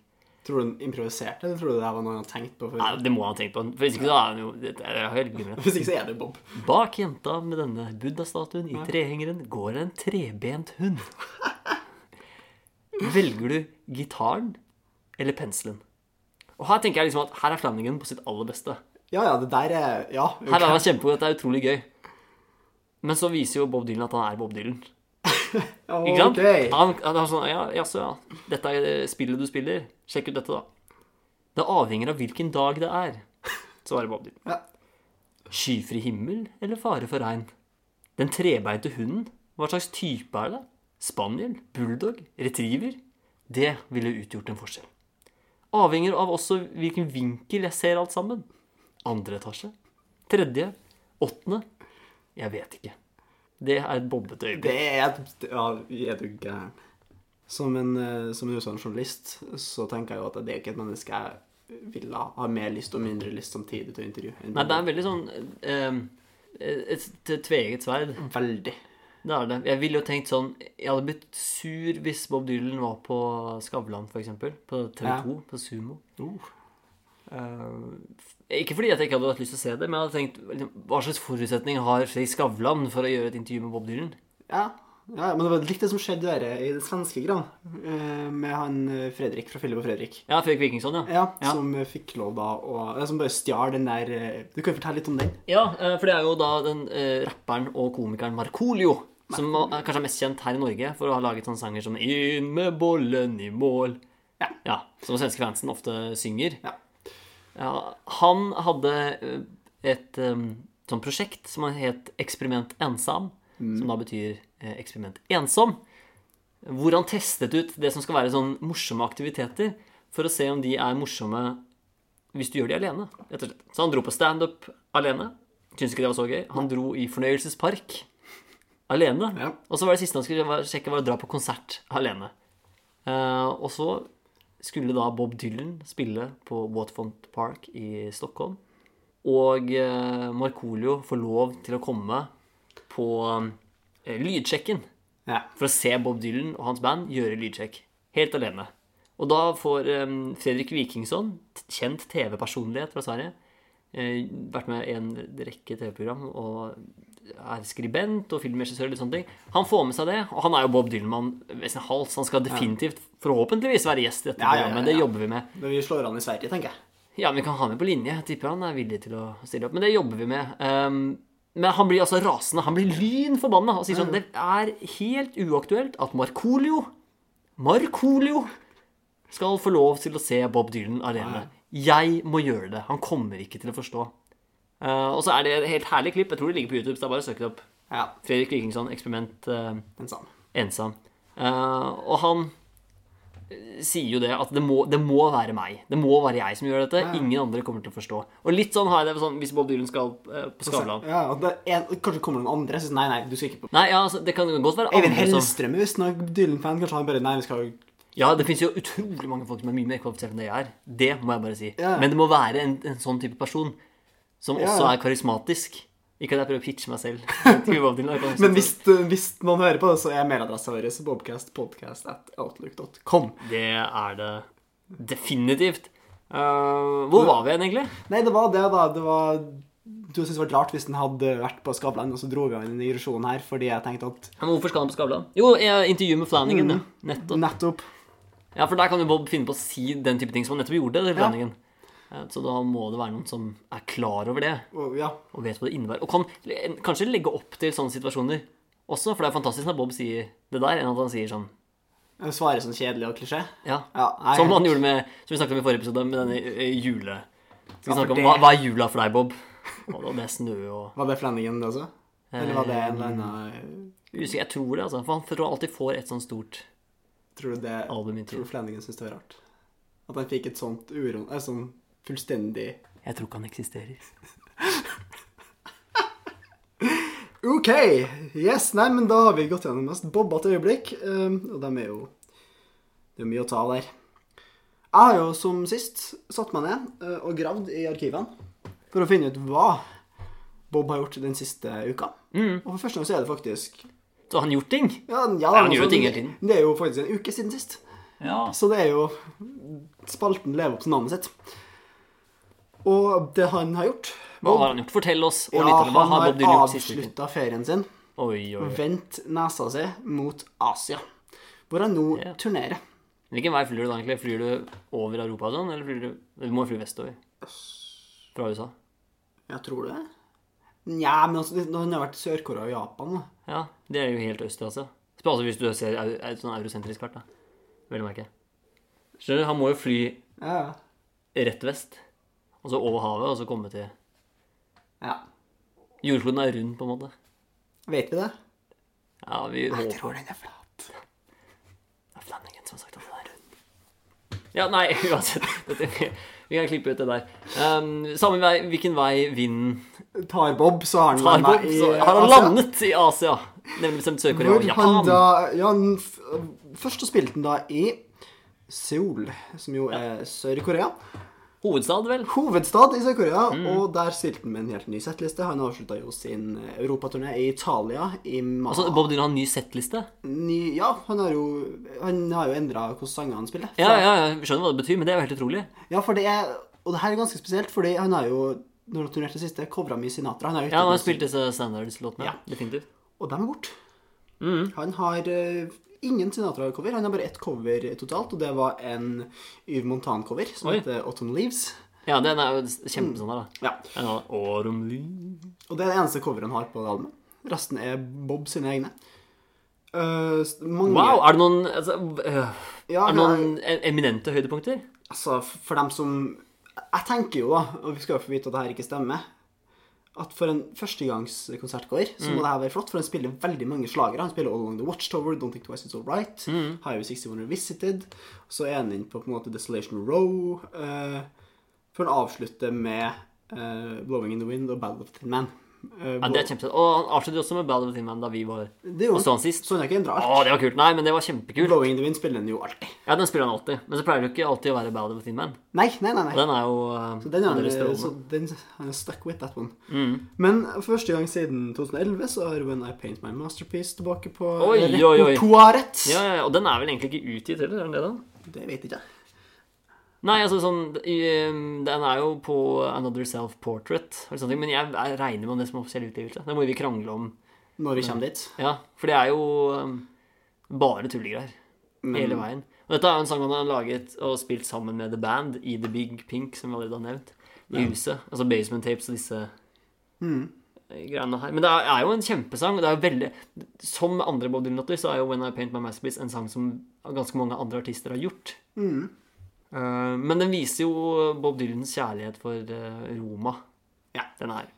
Speaker 4: Tror du han improviserte, eller tror du det her var noe han hadde tenkt på?
Speaker 3: Nei,
Speaker 4: før?
Speaker 3: det må han ha tenkt på. For hvis ikke så er han jo det er helt glimrende.
Speaker 4: Hvis ikke så er det Bob.
Speaker 3: Bak jenta med denne buddha-statuen i trehengeren går en trebent hund. Velger du gitaren eller penselen? Og her tenker jeg liksom at her er Flanagan på sitt aller beste.
Speaker 4: Ja, ja, det der er Ja. ok.
Speaker 3: Her er han kjempegod, dette er utrolig gøy. Men så viser jo Bob Dylan at han er Bob Dylan. Ikke sant?
Speaker 4: Ok.
Speaker 3: Han, han er sånn, ja, jaså, ja. Dette er eh, spillet du spiller. Sjekk ut dette, da. Det avhenger av hvilken dag det er, svarer Bob Dylan.
Speaker 4: Ja.
Speaker 3: Skyfri himmel eller fare for regn? Den trebeinte hunden, hva slags type er det? Spaniel? Bulldog? Retriever? Det ville utgjort en forskjell. Avhenger av også hvilken vinkel jeg ser alt sammen. Andre etasje? Tredje? Åttende? Jeg vet ikke. Det er et bobbete øyeblikk.
Speaker 4: Det er et- Ja, er du gæren. Som en, eh, som en utdannet journalist så tenker jeg jo at det er ikke et menneske jeg ville ha mer lyst og mindre lyst samtidig til å intervjue. enn
Speaker 3: Nei, det er
Speaker 4: Bob.
Speaker 3: en veldig sånn eh, Et t- tveegget sverd.
Speaker 4: veldig.
Speaker 3: Det er det. Jeg ville jo tenkt sånn Jeg hadde blitt sur hvis Bob Dylan var på Skavlan, f.eks. På
Speaker 4: Ja.
Speaker 3: TV2, på Sumo.
Speaker 4: Uh.
Speaker 3: Eh, Ikke fordi at jeg ikke hadde hatt lyst til å se det, men jeg hadde tenkt liksom, Hva slags forutsetning har Fredrik Skavlan for å gjøre et intervju med Bob Dylan?
Speaker 4: Ja. ja, men det var litt det som skjedde der i den svenske gran, eh, med han eh, Fredrik fra Philip og Fredrik.
Speaker 3: Ja, Fredrik Wikingsson, ja.
Speaker 4: Ja, Som eh, fikk lov da å eh, Som bare stjal den der eh, Du kan jo fortelle litt om den.
Speaker 3: Ja, eh, for det er jo da den eh, rapperen og komikeren Markolio som er kanskje er mest kjent her i Norge for å ha laget sånne sanger som 'Inn med bollen i mål'.
Speaker 4: Ja.
Speaker 3: Som svenske fansen ofte synger.
Speaker 4: Ja.
Speaker 3: Ja, han hadde eh, et eh, sånt prosjekt som het Eksperiment Ensam,
Speaker 4: Mm.
Speaker 3: som da betyr eh, Eksperiment Ensom, hvor han testet ut det som skal være sånn morsomme aktiviteter, for å se om de er morsomme hvis du gjør de alene, rett og slett. Så han dro på standup alene. Syns ikke det var så gøy. Han dro i fornøyelsespark alene.
Speaker 4: Ja.
Speaker 3: Og så var det siste han skulle var- sjekke, var å dra på konsert alene. Eh, og så skulle da Bob Dylan spille på Waterfront Park i Stockholm. Og eh, Markolio får lov til å komme på eh, lydsjekken
Speaker 4: Ja.
Speaker 3: for å se Bob Dylan og hans band gjøre lydsjekk. Helt alene. Og da får em, Fredrik Wikingsson, t- kjent TV-personlighet fra Sverige, eh, vært med i en rekke TV-program og er skribent og filmregissør og litt sånne ting. Han får med seg det, og han er jo Bob Dylan-mann ved sin hals. Han skal definitivt, forhåpentligvis, være gjest i dette
Speaker 4: Ja, ja, ja,
Speaker 3: programmet.
Speaker 4: ja.
Speaker 3: Det jobber vi med.
Speaker 4: Men vi slår an i Sverige, tenker jeg.
Speaker 3: Ja, men vi kan ha med på linje. Jeg Tipper han er villig til å stille opp. Men det jobber vi med. Ehm, men han blir altså rasende. Han blir lyn forbanna og sier sånn Det er helt uaktuelt at Markolio Markolio skal få lov til å se Bob Dylan alene. Jeg må gjøre det. Han kommer ikke til å forstå. Eh, og så er det et helt herlig klipp. Jeg tror det ligger på YouTube. så det er bare å søke det opp.
Speaker 4: Ja,
Speaker 3: Fredrik Wikingsson, eksperiment eh,
Speaker 4: den samme.
Speaker 3: ensom. Eh, og han eh, sier jo det at det må, det må være meg. Det må være jeg som gjør dette. Ingen andre kommer til å forstå. Og litt sånn har jeg det med sånn, hvis Bob Dylan skal eh, på Skavlan.
Speaker 4: Ja, og det er en, kanskje kommer noen andre som sier nei, nei, du skal ikke på
Speaker 3: Nei, ja, altså, det kan godt være
Speaker 4: Eivind
Speaker 3: andre som
Speaker 4: Hellstrøm er visstnok Dylan-fan. Kanskje han bare Nei, vi skal
Speaker 3: Ja, det finnes jo utrolig mange folk som er mye mer kvalifisert enn det jeg er. Det må jeg bare si.
Speaker 4: Ja.
Speaker 3: Men det må være en, en sånn type person som
Speaker 4: Ja.
Speaker 3: også er karismatisk. Ikke at jeg prøver å pitche meg selv. til Bob Dylan, jeg kan også-
Speaker 4: Men hvis, eh, hvis noen hører på det, så er mailadressa vår bobcastpodcast.outlook.com.
Speaker 3: Det er det definitivt. Eh, hvor var vi igjen, egentlig?
Speaker 4: Nei, det var det, da. Det var Du syntes det var rart hvis den hadde vært på Skavlan, og så dro vi av en digresjon her fordi jeg tenkte at
Speaker 3: Ja, Men hvorfor skal han på Skavlan? Jo, jeg- intervju med Flanagan.
Speaker 4: Mm.
Speaker 3: ja. Nettopp.
Speaker 4: nettopp
Speaker 3: Ja, for der kan jo Bob finne på å si den type ting som han nettopp gjorde. til Flanagan. Eh, Så da må det være noen som er klar over det,
Speaker 4: og, Ja.
Speaker 3: og vet hva det innebærer. Og kan eh, kanskje legge opp til sånne situasjoner også, for det er fantastisk når Bob sier det der, enn at han sier sånn
Speaker 4: jeg Svarer sånn kjedelig og klisjé.
Speaker 3: Ja.
Speaker 4: Ja, nei,
Speaker 3: Som han gjorde med Som vi snakket om i forrige episode, med denne eh, jule... Skal vi
Speaker 4: Ja, for
Speaker 3: snakke om
Speaker 4: det-
Speaker 3: hva, hva er jula for deg, Bob? Og det er snø og eh,
Speaker 4: Var det Flanagan, det også? Eh, Eller var det en eller annen
Speaker 3: Usikker, jeg tror det, altså. For han tror han alltid får et sånn stort
Speaker 4: Tror du det
Speaker 3: Album i tid.
Speaker 4: Tror du Flanagan syntes det var rart? At han fikk et sånt uro... eh, Sånn fullstendig
Speaker 3: Jeg tror ikke han eksisterer.
Speaker 4: OK! Yes, nei, men da har vi gått gjennom mest bobbete øyeblikk. Um, og de er jo Det er mye å ta av der. Jeg har jo som sist satt meg ned eh, og gravd i arkivene for å finne ut hva Bob har gjort den siste uka.
Speaker 3: Mm.
Speaker 4: Og for første gang så er det faktisk
Speaker 3: Så har han gjort ting?
Speaker 4: Ja, ja,
Speaker 3: han gjør
Speaker 4: altså,
Speaker 3: jo ting hele tiden.
Speaker 4: Det er jo faktisk en uke siden sist.
Speaker 3: Ja.
Speaker 4: Så det er jo Spalten lever opp til navnet sitt. Og det han har gjort
Speaker 3: Hva har han gjort? Fortell oss. Og
Speaker 4: Ja,
Speaker 3: litt om hva
Speaker 4: han
Speaker 3: har
Speaker 4: har
Speaker 3: Bob Dylan gjort siste uken?
Speaker 4: avslutta ferien sin
Speaker 3: Oi, oi,
Speaker 4: og
Speaker 3: oi.
Speaker 4: vendt nesa si mot Asia, hvor han nå
Speaker 3: Ja.
Speaker 4: turnerer.
Speaker 3: Hvilken vei flyr du da, egentlig? Flyr du over Europa og sånn, eller flyr du Du må jo fly vestover. Fra USA.
Speaker 4: Jeg tror det. Nja, men altså, det- han har vært i Sør-Korea og Japan. da.
Speaker 3: Ja, det er jo helt øst i Asia. Sp- Altså hvis du ser au- au- sånn eurosentrisk kart, da. Vel å merke. Skjønner du, han må jo fly
Speaker 4: Ja,
Speaker 3: rett vest. Og så over havet, og så komme til
Speaker 4: ja.
Speaker 3: Jordkloden er rund, på en måte.
Speaker 4: Vet vi det?
Speaker 3: Ja, vi
Speaker 4: Jeg
Speaker 3: håper
Speaker 4: tror den er flat.
Speaker 3: Det er Flanagan som har sagt at den er rund. Ja, nei, uansett. Dette, vi kan klippe ut det der. Um, samme vei, hvilken vei vinden
Speaker 4: Tar Bob, så har han
Speaker 3: tar,
Speaker 4: landet
Speaker 3: Bob,
Speaker 4: i
Speaker 3: så har han
Speaker 4: Asia.
Speaker 3: landet i Asia. Nemlig bestemt Sør-Korea
Speaker 4: Hvor
Speaker 3: og
Speaker 4: han
Speaker 3: Japan.
Speaker 4: da ja, han f Først så spilte han da i Seoul, som jo er Sør-Korea.
Speaker 3: Hovedstad, vel?
Speaker 4: Hovedstad i Sør-Korea,
Speaker 3: Mm.
Speaker 4: og der spilte han med en helt ny settliste. Han avslutta jo sin europaturné i Italia i mai.
Speaker 3: Altså, Bob Dylan har en ny settliste.
Speaker 4: ny, ja, han har jo, han har jo endra hvilke sanger han spiller.
Speaker 3: Ja, ja, jeg skjønner hva det betyr, men det er jo helt utrolig.
Speaker 4: Ja, for det er Og det her er ganske spesielt, fordi han har jo, når han turnerte siste, covra mye Sinatra. Han har jo
Speaker 3: Ja,
Speaker 4: gitt ut
Speaker 3: han har
Speaker 4: noen-
Speaker 3: spilt disse Standards-låtene.
Speaker 4: Ja.
Speaker 3: Definitivt.
Speaker 4: Og dem er borte.
Speaker 3: Mm.
Speaker 4: Han har eh, ingen Sinatra-cover. Han har bare ett cover totalt, og det var en Yves Montan-cover som
Speaker 3: Oi.
Speaker 4: heter Autumn Leaves.
Speaker 3: Ja, den er jo kjempesånn der, da.
Speaker 4: Ja.
Speaker 3: Den har Autumn Leaves.
Speaker 4: Og det er det eneste coveret han har på det albumet. Resten er Bob sine egne. Eh, s- mange,
Speaker 3: Wow! Er det noen, altså, øh,
Speaker 4: Ja,
Speaker 3: er det noen e- eminente høydepunkter?
Speaker 4: altså, for dem som Jeg tenker jo, da, og vi skal jo få vite at det her ikke stemmer, at for en førstegangskonsertgåer
Speaker 3: Mm.
Speaker 4: så må det her være flott, for han spiller veldig mange slagere. Han spiller All Along The Watchtower, Don't Think Twice It's All Right,
Speaker 3: Mm.
Speaker 4: Highway 61 Revisited, så er han inne på på en måte Desolation Row, eh, før han avslutter med eh, Blowing in the Wind og Battle of the Thin Man. Eh,
Speaker 3: Ja, det er kjempesøtt. Og han avslutter også med Bad of the Thin Man da vi var
Speaker 4: det er jo-
Speaker 3: Og så han Sånn sist.
Speaker 4: Så han har ikke endra
Speaker 3: Å,
Speaker 4: alt.
Speaker 3: det var kult. Nei, men det var kjempekult.
Speaker 4: Blowing in the Wind spiller han jo alltid.
Speaker 3: Ja, den spiller han alltid. Men så pleier det jo ikke alltid å være Bad of the Thin Man.
Speaker 4: Nei, nei, nei. nei.
Speaker 3: Den er jo eh,
Speaker 4: Så den er
Speaker 3: fremdeles
Speaker 4: han,
Speaker 3: strålende.
Speaker 4: så den, han er stuck with that one.
Speaker 3: Mm.
Speaker 4: Men for første gang siden 2011 så har When I Paint My Masterpiece tilbake på
Speaker 3: Oi, oi, oi.
Speaker 4: repertoaret.
Speaker 3: ja, ja, ja, og den er vel egentlig ikke utgitt heller, er den det, da?
Speaker 4: Det vet jeg ikke.
Speaker 3: Nei, altså sånn i, eh, Den er jo på Another Self-Portrait, eller sånne ting, men jeg, jeg regner med om det som offisiell utgivelse. Det må vi krangle om.
Speaker 4: Når vi kommer dit.
Speaker 3: Ja, for det er jo eh, bare tullegreier hele veien. Og dette er jo en sang han har laget og spilt sammen med The Band i The Big Pink, som vi allerede har nevnt, i huset. Altså Basement Tapes og disse
Speaker 4: Mm.
Speaker 3: eh, greiene her. Men det er, er jo en kjempesang. og Det er jo veldig, som med andre Bob Dylan-låter så er jo When I Paint My Masterpiece en sang som ganske mange andre artister har gjort.
Speaker 4: Mm.
Speaker 3: Eh, men den viser jo Bob Dylans kjærlighet for eh, Roma,
Speaker 4: Ja.
Speaker 3: den her.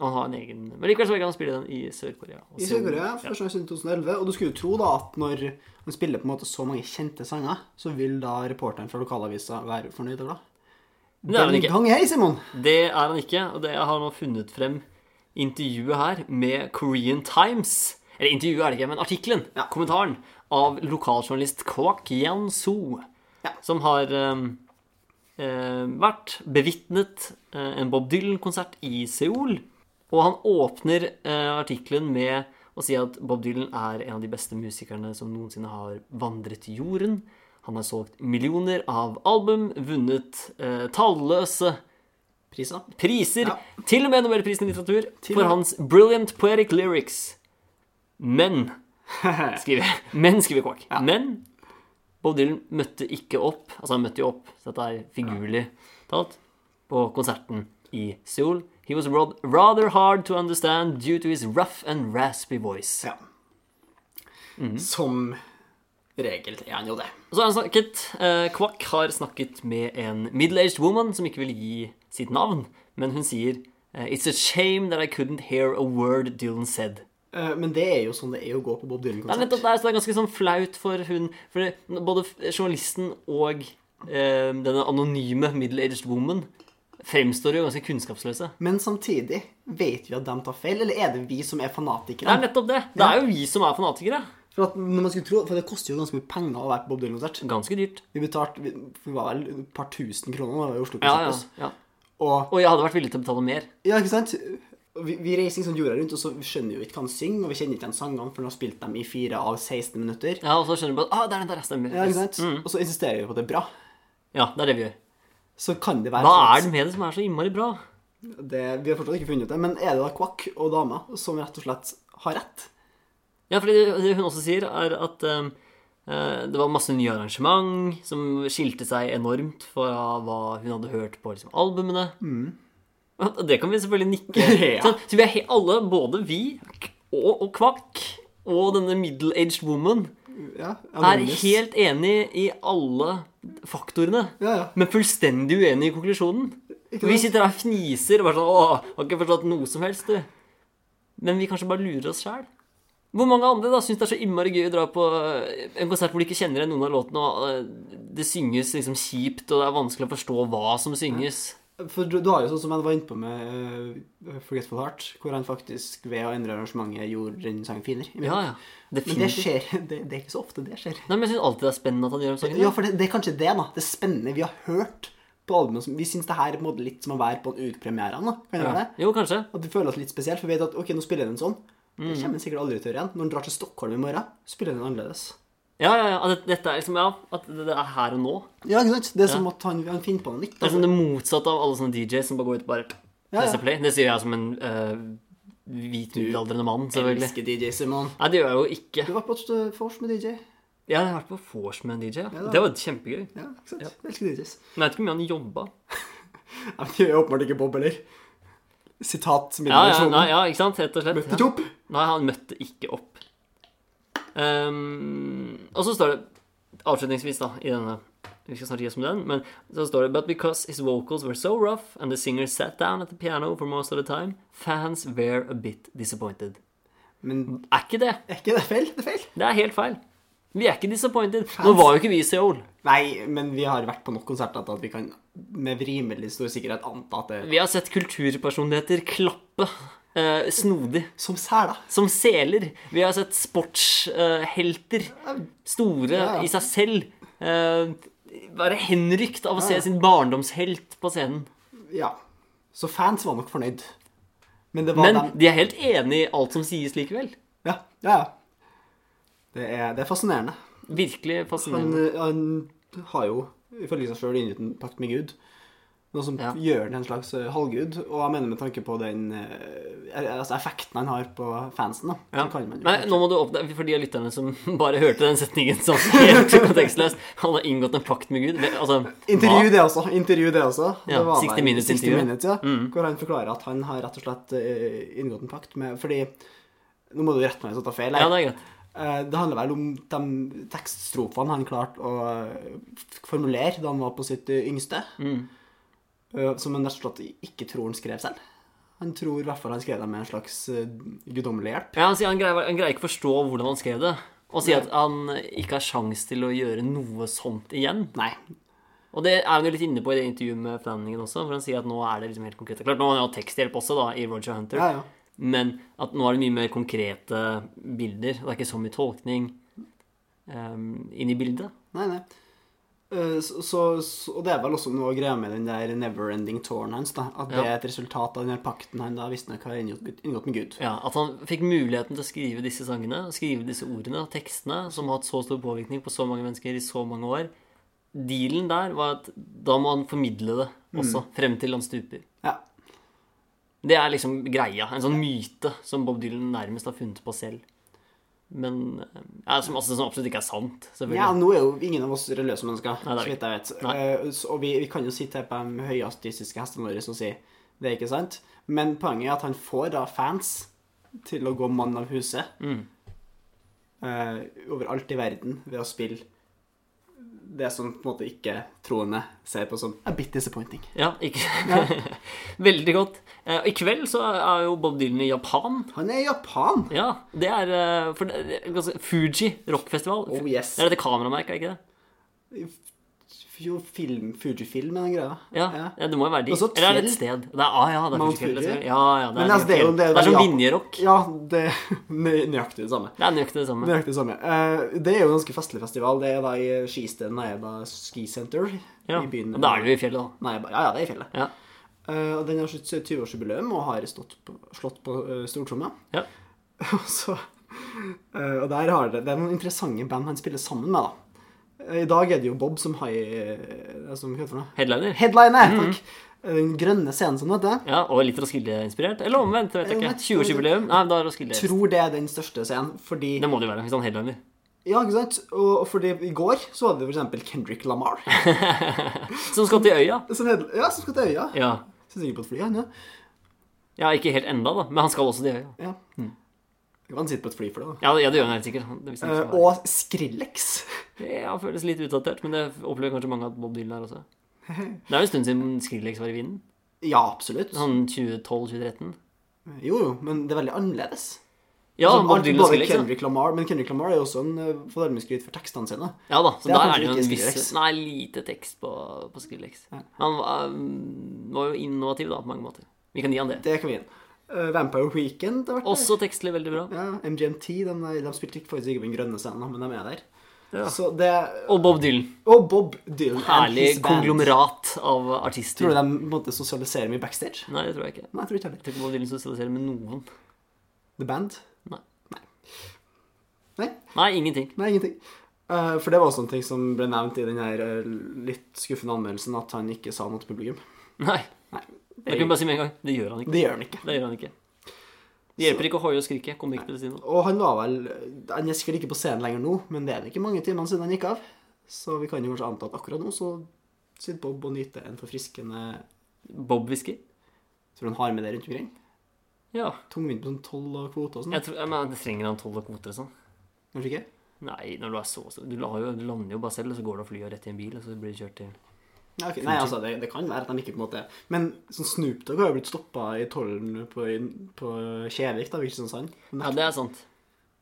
Speaker 3: Og han har en egen Men likevel så vil ikke han spille den i Sør-Korea. Og
Speaker 4: I
Speaker 3: Seoul.
Speaker 4: Sør-Korea, første gang siden 2011. Og du skulle jo tro da at når han spiller på en måte så mange kjente sanger, så vil da reporteren fra lokalavisa være fornøyd og glad.
Speaker 3: Men det er han
Speaker 4: Den
Speaker 3: ikke.
Speaker 4: gang hei, Simon!
Speaker 3: Det er han ikke, og det jeg har nå funnet frem intervjuet her med Korean Times. Eller intervjuet er det ikke, men artikkelen, kommentaren, av lokaljournalist Kwak Yan-soo,
Speaker 4: Ja.
Speaker 3: som har eh, eh, vært bevitnet eh, en Bob Dylan-konsert i Seoul. Og han åpner eh, artikkelen med å si at Bob Dylan er en av de beste musikerne som noensinne har vandret jorden. Han har solgt millioner av album, vunnet eh, talløse
Speaker 4: Prisa.
Speaker 3: priser,
Speaker 4: Ja.
Speaker 3: til og med Nobelprisen i litteratur,
Speaker 4: Til
Speaker 3: for
Speaker 4: og med.
Speaker 3: hans brilliant poetic lyrics. Men skriver Men skriver Quark. Men Bob Dylan møtte ikke opp. Altså, han møtte jo opp, så dette er figurlig talt, på konserten i Seoul. He was rod- rather hard to understand due to his rough and raspy voice.
Speaker 4: Ja. Som regel er han jo det.
Speaker 3: Og så har han snakket eh, Quack har snakket med en middle-aged woman som ikke vil gi sitt navn, men hun sier eh, It's a shame that I couldn't hear a word Dylan said.
Speaker 4: Eh, Men det er jo sånn det er å gå på Bob
Speaker 3: Det er
Speaker 4: Dylan-konsert.
Speaker 3: nettopp der, så det er ganske sånn flaut for hun For det- både f- journalisten og eh, denne anonyme middle-aged woman fremstår jo ganske kunnskapsløse.
Speaker 4: Men samtidig, vet vi at de tar feil, eller er det vi som
Speaker 3: Det
Speaker 4: er
Speaker 3: er
Speaker 4: fanatikere?
Speaker 3: nettopp det. Det er jo vi som er fanatikere.
Speaker 4: For, at når man skulle tro, for det koster jo ganske mye penger å være på Bob Dylan-konsert.
Speaker 3: Ganske dyrt.
Speaker 4: Vi betalte vi, vi var vel et par tusen kroner da vi var i
Speaker 3: Ja,
Speaker 4: Oslo-konserten.
Speaker 3: ja,
Speaker 4: altså.
Speaker 3: ja.
Speaker 4: Og
Speaker 3: Og jeg hadde vært villig til å betale mer.
Speaker 4: ja, ikke sant? Vi, vi reiser liksom jorda rundt, og så vi skjønner jo ikke hva han synger, og vi kjenner ikke igjen sangene før han har spilt dem i 4 av 16 minutter.
Speaker 3: Ja, Mm. Og så skjønner du bare ah, det er den der jeg stemmer.
Speaker 4: Ja, ikke sant? Og så insisterer vi på at det er bra.
Speaker 3: Ja, det er det vi gjør.
Speaker 4: Så kan det være
Speaker 3: Hva
Speaker 4: sånn at-
Speaker 3: er det med det som er så innmari bra?
Speaker 4: Det, vi har fortsatt ikke funnet ut det, men er det da Quack og dama som rett og slett har rett?
Speaker 3: Ja, fordi det, det hun også sier, er at eh, eh, det var masse nye arrangement som skilte seg enormt fra hva hun hadde hørt på liksom, albumene. Og Det kan vi selvfølgelig nikke. Sånn,
Speaker 4: Ja.
Speaker 3: så, så vi er he alle, både vi og, og Kvakk og denne middle-aged woman,
Speaker 4: Ja,
Speaker 3: er
Speaker 4: Anonymous.
Speaker 3: helt enig i alle faktorene.
Speaker 4: Ja, ja.
Speaker 3: Men fullstendig uenig i konklusjonen.
Speaker 4: Ikke
Speaker 3: Vi
Speaker 4: sant?
Speaker 3: sitter her og fniser og bare sånn Åh, har ikke forstått noe som helst, du. Men vi kanskje bare lurer oss sjæl. Hvor mange andre da syns det er så innmari gøy å dra på eh, en konsert hvor de ikke kjenner igjen noen av låtene, og eh, det synges liksom kjipt, og det er vanskelig å forstå hva som synges?
Speaker 4: For du, du har jo sånn som jeg var inne på med eh, Forgetful Heart, hvor han faktisk ved å endre arrangementet gjorde den sangen finere.
Speaker 3: Ja, ja.
Speaker 4: Men det
Speaker 3: Definitivt.
Speaker 4: skjer, det, det er ikke så ofte det skjer.
Speaker 3: Nei, men jeg syns alltid det er spennende at han gjør om sangen.
Speaker 4: Ja, for det, det er kanskje det, da. Det spennende vi har hørt på albumet. som- Vi syns det her er på en måte litt som å være på en ukepremiere. da. Kan det være det?
Speaker 3: Jo, kanskje.
Speaker 4: At vi føler oss litt spesielt, for vi vet at ok, nå spiller den sånn. Det kommer den sikkert aldri til å gjøre igjen. Når den drar til Stockholm i morgen, spiller den annerledes.
Speaker 3: Ja, ja, ja. At dette er liksom Ja, at det det er her og nå.
Speaker 4: Ja, ikke sant? Det er som at han, han finner på noe nytt.
Speaker 3: Det er
Speaker 4: Altså.
Speaker 3: som det motsatte av alle sånne DJs som bare går ut og bare
Speaker 4: Ja, ja.
Speaker 3: presser play. Det sier jeg som en uh, hvit middelaldrende mann, selvfølgelig.
Speaker 4: Elsker DJ Simon.
Speaker 3: Nei, det gjør jeg jo ikke.
Speaker 4: Du var på et eh, vors med DJ.
Speaker 3: Jeg har vært på vors med en DJ. Ja.
Speaker 4: da.
Speaker 3: Det var kjempegøy.
Speaker 4: Ja, ikke sant? Elsker DJs.
Speaker 3: Men jeg vet ikke hvor mye han jobba.
Speaker 4: Nei, men Det gjør åpenbart ikke Bob heller. Sitat som
Speaker 3: Ja, ja,
Speaker 4: inneholder
Speaker 3: nei,
Speaker 4: sånn.
Speaker 3: ja, ikke sant? Rett og slett.
Speaker 4: Møtte
Speaker 3: Ja.
Speaker 4: ikke opp.
Speaker 3: Nei, han møtte ikke opp. Ehm, og så står det avslutningsvis, da, i denne Vi skal snart gi oss med den, men så står det But because his vocals were so rough and the singer sat down at the piano for most of the time, fans were a bit disappointed.
Speaker 4: Men
Speaker 3: Er ikke det?
Speaker 4: er ikke det feil? Det er feil.
Speaker 3: Det er helt feil. Vi er ikke disappointed. Nå var jo ikke vi i Seoul.
Speaker 4: Nei, men vi har vært på nok konserter til at vi kan med rimelig stor sikkerhet anta at det er
Speaker 3: Vi har sett kulturpersonligheter klappe eh, snodig.
Speaker 4: som sæla.
Speaker 3: Som seler. Vi har sett sportshelter. store
Speaker 4: ja.
Speaker 3: i seg selv. eh, være henrykt av å se sin barndomshelt på scenen.
Speaker 4: Ja. Så fans var nok fornøyd. Men det var
Speaker 3: Men
Speaker 4: dem
Speaker 3: de er helt enig i alt som sies likevel.
Speaker 4: Ja, ja. ja. Det er, det er fascinerende.
Speaker 3: Virkelig
Speaker 4: Han,
Speaker 3: fascinerende.
Speaker 4: eh, han har jo ifølge seg sjøl inngått en pakt med Gud. Noe som
Speaker 3: Ja.
Speaker 4: gjør den til en slags eh, halvgud. Og jeg mener med tanke på den eh, al- altså effekten han har på fansen, da.
Speaker 3: Ja.
Speaker 4: Så kan man jo
Speaker 3: Nei, nå må du opp For de av lytterne som bare hørte den setningen sånn helt kontekstløst Han har inngått en pakt med Gud. Altså,
Speaker 4: Intervju
Speaker 3: hva?
Speaker 4: det også. intervju det også.
Speaker 3: Ja,
Speaker 4: det var
Speaker 3: 60
Speaker 4: vel
Speaker 3: Minutes
Speaker 4: 60
Speaker 3: intervju. Mm.
Speaker 4: minutes ja, Hvor han forklarer at han har rett og slett eh, inngått en pakt med Fordi Nå må du rette meg hvis jeg tar feil. her.
Speaker 3: Ja, det er greit.
Speaker 4: Eh, Det handler vel om de tekststrofene han klarte å eh, f- formulere Mm. da han var på sitt eh, yngste. eh, Som han rett og slett ikke tror han skrev selv. Han tror i hvert fall han skrev dem med en slags eh, guddommelig hjelp.
Speaker 3: Ja, han sier han greier, han greier ikke forstå hvordan han skrev det. Og sier at han ikke har sjans til å gjøre noe sånt igjen.
Speaker 4: Nei.
Speaker 3: Og det er han jo litt inne på i det intervjuet med Flanagan også, for han sier at nå er det liksom helt konkret. Klart, nå har han jo hatt teksthjelp også, da, i Roger Hunter.
Speaker 4: Ja, ja.
Speaker 3: Men at nå er det mye mer konkrete bilder. Det er ikke så mye tolkning um, inn i bildet.
Speaker 4: Nei, nei. Eh, Så, så, så- og det er vel også noe å greie med den der never-ending tårn hans, da. At det
Speaker 3: Ja.
Speaker 4: er et resultat av den her pakten han da visstnok har inngått inngått med Gud.
Speaker 3: Ja, At han fikk muligheten til å skrive disse sangene, skrive disse ordene, tekstene, som har hatt så stor påvirkning på så mange mennesker i så mange år. Dealen der var at da må han formidle det
Speaker 4: Mm.
Speaker 3: også, frem til han stuper.
Speaker 4: Ja.
Speaker 3: Det er liksom greia. En sånn myte som Bob Dylan nærmest har funnet på selv. Men eh, ja, som, altså, som absolutt ikke er sant, selvfølgelig.
Speaker 4: Ja, nå er jo ingen av oss religiøse mennesker,
Speaker 3: Nei, det
Speaker 4: så
Speaker 3: er vi
Speaker 4: vidt jeg vet.
Speaker 3: Nei.
Speaker 4: Eh, så- Og vi, vi kan jo sitte her på de høyest fysiske hestene våre og si det er ikke sant. Men poenget er at han får da fans til å gå mann av huset
Speaker 3: Mm.
Speaker 4: eh, overalt i verden ved å spille det som på en måte ikke-troende ser på som a bit disappointing.
Speaker 3: Ja, ikke Veldig godt. Eh, og I kveld så er jo Bob Dylan i Japan.
Speaker 4: Han er i Japan!
Speaker 3: Ja, det er eh, for, det er ganske- Fuji rockfestival.
Speaker 4: Oh, yes.
Speaker 3: Det er dette kameramerket, er ikke det?
Speaker 4: Jo, film, Fujifilm er den greia.
Speaker 3: Ja, ja. det må jo være de.
Speaker 4: Og så
Speaker 3: Eller er det et
Speaker 4: fjell.
Speaker 3: sted? Det er, ah, ja, det er
Speaker 4: Mount
Speaker 3: Fuji Fjell, det er
Speaker 4: Fuji.
Speaker 3: sikkert. Ja, ja, det er,
Speaker 4: Men altså, det er jo-
Speaker 3: fjell.
Speaker 4: det er-
Speaker 3: det er som
Speaker 4: ja.
Speaker 3: linjerock.
Speaker 4: Ja, det er nøy- nøyaktig det samme.
Speaker 3: Det er nøyaktig det samme.
Speaker 4: Nøyaktig det samme. Eh, det er jo en ganske festlig festival. Det er da i Skisteden Naeba Ski Center
Speaker 3: Ja.
Speaker 4: i byen.
Speaker 3: Da er du i fjellet, da.
Speaker 4: Naeba. Ja, ja, det er i fjellet.
Speaker 3: Ja.
Speaker 4: Eh, og den har sitt 20-årsjubileum og har stått på, slått på uh, stortromma.
Speaker 3: Ja.
Speaker 4: Og så eh, Og der har det, det er noen interessante band han spiller sammen med, da. Eh, I dag er det jo Bob som har uh, Som hva heter det for noe?
Speaker 3: Headliner.
Speaker 4: Headliner!
Speaker 3: Mm-hmm.
Speaker 4: Takk. Den grønne scenen som det heter.
Speaker 3: Ja, og litt Roskilde-inspirert. Eller omvendt, vet jeg ikke.
Speaker 4: Omvendt.
Speaker 3: 20-årsjubileum. Nei, da er Roskilde
Speaker 4: Tror det er den største scenen, fordi
Speaker 3: Det må det jo være. Hvis han headliner.
Speaker 4: Ja, ikke sant? Og og fordi i går så var det for eksempel Kendrick Lamar.
Speaker 3: Som skal til øya.
Speaker 4: Som head, ja, som skal til øya.
Speaker 3: Ja.
Speaker 4: Sitter ikke på et fly, han, ja.
Speaker 3: ja, ikke helt enda, da. Men han skal også til øya.
Speaker 4: ja. Han sitter på et fly for det, da.
Speaker 3: Ja, Mm. ja det gjør han helt sikkert. Det visste jeg
Speaker 4: Eh,
Speaker 3: ikke sånn.
Speaker 4: og Skrillex.
Speaker 3: Ja, føles litt utdatert, men det opplever kanskje mange at Bob Dylan er også. Det er jo en stund siden Skrillex var i vinden.
Speaker 4: Ja, absolutt.
Speaker 3: Sånn 2012-2013.
Speaker 4: Jo, jo, men det er veldig annerledes.
Speaker 3: Ja,
Speaker 4: Altså,
Speaker 3: Bob
Speaker 4: alt-
Speaker 3: Dylan og
Speaker 4: både
Speaker 3: Skrillex. da.
Speaker 4: Kendrick Lamar, Men Kendrick Lamar er jo også en eh, får dermed skryt for tekstene sine.
Speaker 3: Ja da, så
Speaker 4: Det
Speaker 3: der
Speaker 4: er kanskje
Speaker 3: er det jo
Speaker 4: ikke
Speaker 3: en
Speaker 4: Skrillex.
Speaker 3: viss Nei, lite tekst på, på Skrillex. Han var, um, var jo innovativ da, på mange måter. Vi kan gi han det.
Speaker 4: Det kan vi inn. Eh, Vampire Weekend har vært der.
Speaker 3: Også tekstlig veldig bra.
Speaker 4: Ja, MGMT. De, er- eh, de spilte ikke faktisk ikke på den grønne scenen, da, men de er der.
Speaker 3: Ja.
Speaker 4: Så det
Speaker 3: Og Bob Dylan.
Speaker 4: Og Bob Dylan. and
Speaker 3: Herlig
Speaker 4: his band.
Speaker 3: konglomerat av artister.
Speaker 4: Tror du de på en måte sosialiserer mye backstage?
Speaker 3: Nei, det tror jeg ikke. Jeg
Speaker 4: Nei, jeg tror ikke heller.
Speaker 3: tror ikke Bob Dylan sosialiserer med noen.
Speaker 4: The Band?
Speaker 3: Nei.
Speaker 4: Nei,
Speaker 3: Nei, ingenting.
Speaker 4: nei ingenting. Eh, for det var også en ting som ble nevnt i den her eh, litt skuffende anmeldelsen, at han ikke sa noe til publikum.
Speaker 3: Nei.
Speaker 4: Nei,
Speaker 3: Det kan vi bare si med en gang. Det gjør han ikke.
Speaker 4: det gjør han ikke.
Speaker 3: Det gjør han ikke. Det hjelper ikke å hoie og skrike. Kommer ikke til å si noe.
Speaker 4: Og han var vel Han er sikkert ikke på scenen lenger nå, men det er ikke mange timene siden han gikk av. Så vi kan jo kanskje anta at akkurat nå så sitter Bob og nyter en forfriskende
Speaker 3: Bob-whisky?
Speaker 4: Tror du han har med det rundt omkring?
Speaker 3: Ja.
Speaker 4: Tungvint på sånn toll og kvote og sånn?
Speaker 3: Jeg tror, men trenger han tolv og kvoter og sånn?
Speaker 4: Kanskje ikke?
Speaker 3: Nei, når du er så stor du, la jo- du lander jo bare selv, og så går du og flyr rett i en bil, og så blir du kjørt til
Speaker 4: Ja, ok. Nei, altså, det, det kan være at de ikke på en måte Men sånn Snoop Dogg har jo blitt stoppa i tollen på, på Kjevik, da, Kristiansand. Men,
Speaker 3: Ja, det er sant.